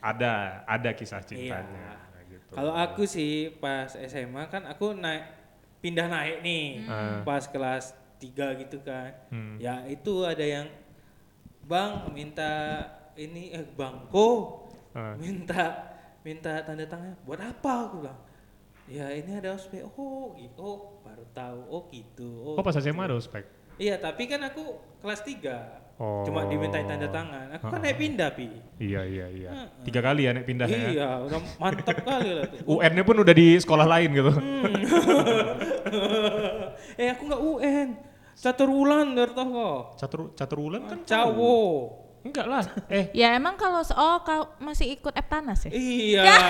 Ada, ada kisah cintanya. Gitu. Iya. Kalau aku sih pas SMA kan aku naik pindah naik nih Ah. pas kelas 3 gitu kan. Hmm. Ya itu ada yang Bang minta ini eh bangko Ah. minta minta tanda tangan buat apa aku bilang. Ya ini ada ospek. Oh, gitu. Oh, baru tahu. Oh, gitu. Oh. Oh pas SMA ada ospek? Iya, tapi kan aku kelas 3. Oh. Cuma dimintai tanda tangan. Aku kan naik pindah, Pi. Iya, iya, iya. Tiga kali ya naik pindah ya? Iya, udah mantap kali lah tuh. UN-nya pun udah di sekolah lain gitu. Mm. eh aku nggak UN catur bulan dari tau kok Catur, catur ulan kan? cawo Enggak lah. Eh, Ya emang kalau se- oh kau masih ikut Eptanas ya? iya [LAUGHS] ah.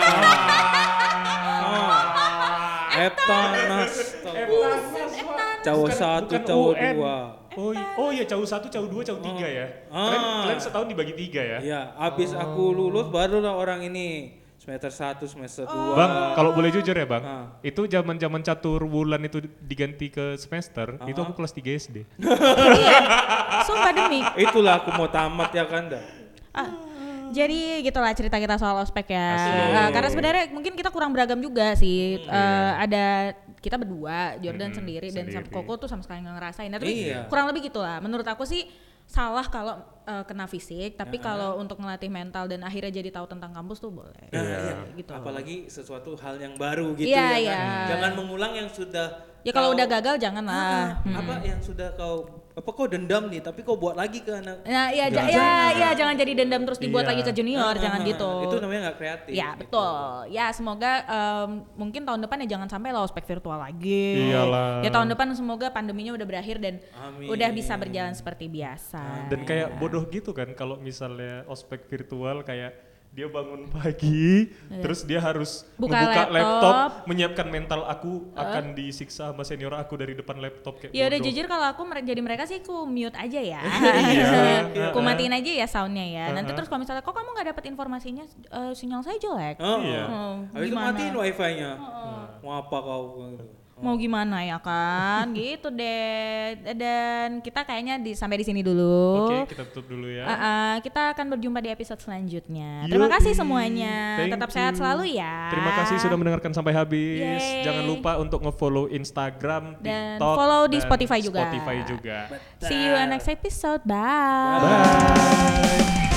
Eptanas tau. Eptanas Cowok kan bukan- satu, bukan cowok UN. dua. Oh, i- oh iya cowok satu, cowok dua, cowok tiga ya. Kalian, Ah. kalian setahun dibagi tiga ya. Ya, abis aku Oh. lulus barulah orang ini semester 1, semester 2. Bang, Oh. kalau boleh jujur ya bang, Ah. itu zaman zaman catur bulan itu diganti ke Ah. semester, itu aku kelas 3 SD. iya sumpah demi Itulah aku mau tamat ya kan dah. Ah, jadi gitulah cerita kita soal ospek ya. Asik. Hmm, Ah, karena sebenarnya mungkin kita kurang beragam juga sih. Eh, ada kita berdua, Jordan Mm-mm, sendiri, dan sama Hmm, sendiri. Koko tuh sama sekali nggak ngerasain. Nah, Tapi Iya. kurang lebih gitulah. Menurut aku sih salah kalau eh, kena fisik, tapi kalau untuk ngelatih mental dan akhirnya jadi tahu tentang kampus tuh boleh. Nah, Iya. iya. Gitu. Apalagi sesuatu hal yang baru gitu Iya, ya kan. iya. Jangan mengulang yang sudah Ya kalau kau- udah gagal jangan Ah, lah. Hmm. apa yang sudah kau apa kau dendam nih tapi kau buat lagi ke anak Nah, iya ja- ya, ya jangan jadi dendam terus dibuat Iya. lagi ke junior, jangan Ah, gitu. Itu namanya nggak kreatif. Ya gitu. betul. Ya semoga em, mungkin tahun depan ya jangan sampai lah ospek virtual lagi. Iyalah. Ya tahun depan semoga pandeminya udah berakhir dan Amin. udah bisa berjalan seperti biasa. Dan kayak bodoh gitu kan kalau misalnya ospek virtual kayak dia bangun [LAUGHS] pagi, terus dia harus Iya. Buka membuka laptop. laptop. menyiapkan mental aku akan disiksa sama senior aku dari depan laptop kayak Ya udah bodoh. jujur kalau aku mere- jadi mereka sih ku mute aja [LAUGHS] ya. Iya. ku matiin aja ya soundnya ya. Nanti Uh-uh. terus kalau misalnya kok kamu nggak dapet informasinya eh, sinyal saya jelek. Oh, Iya. Oh, Habis itu gimana? matiin wifi-nya. Mau apa kau? Mau gimana ya kan? gitu deh. Dan kita kayaknya di, sampai di sini dulu. Oke, kita tutup dulu ya. Ah, ah, kita akan berjumpa di episode selanjutnya. Terima Yoi. kasih semuanya. Thank Tetap sehat you. selalu ya. Terima kasih sudah mendengarkan sampai habis. Yeay. Jangan lupa untuk nge-follow Instagram, Dan TikTok, follow di dan Spotify juga. Spotify juga. See you on next episode. Bye. Bye.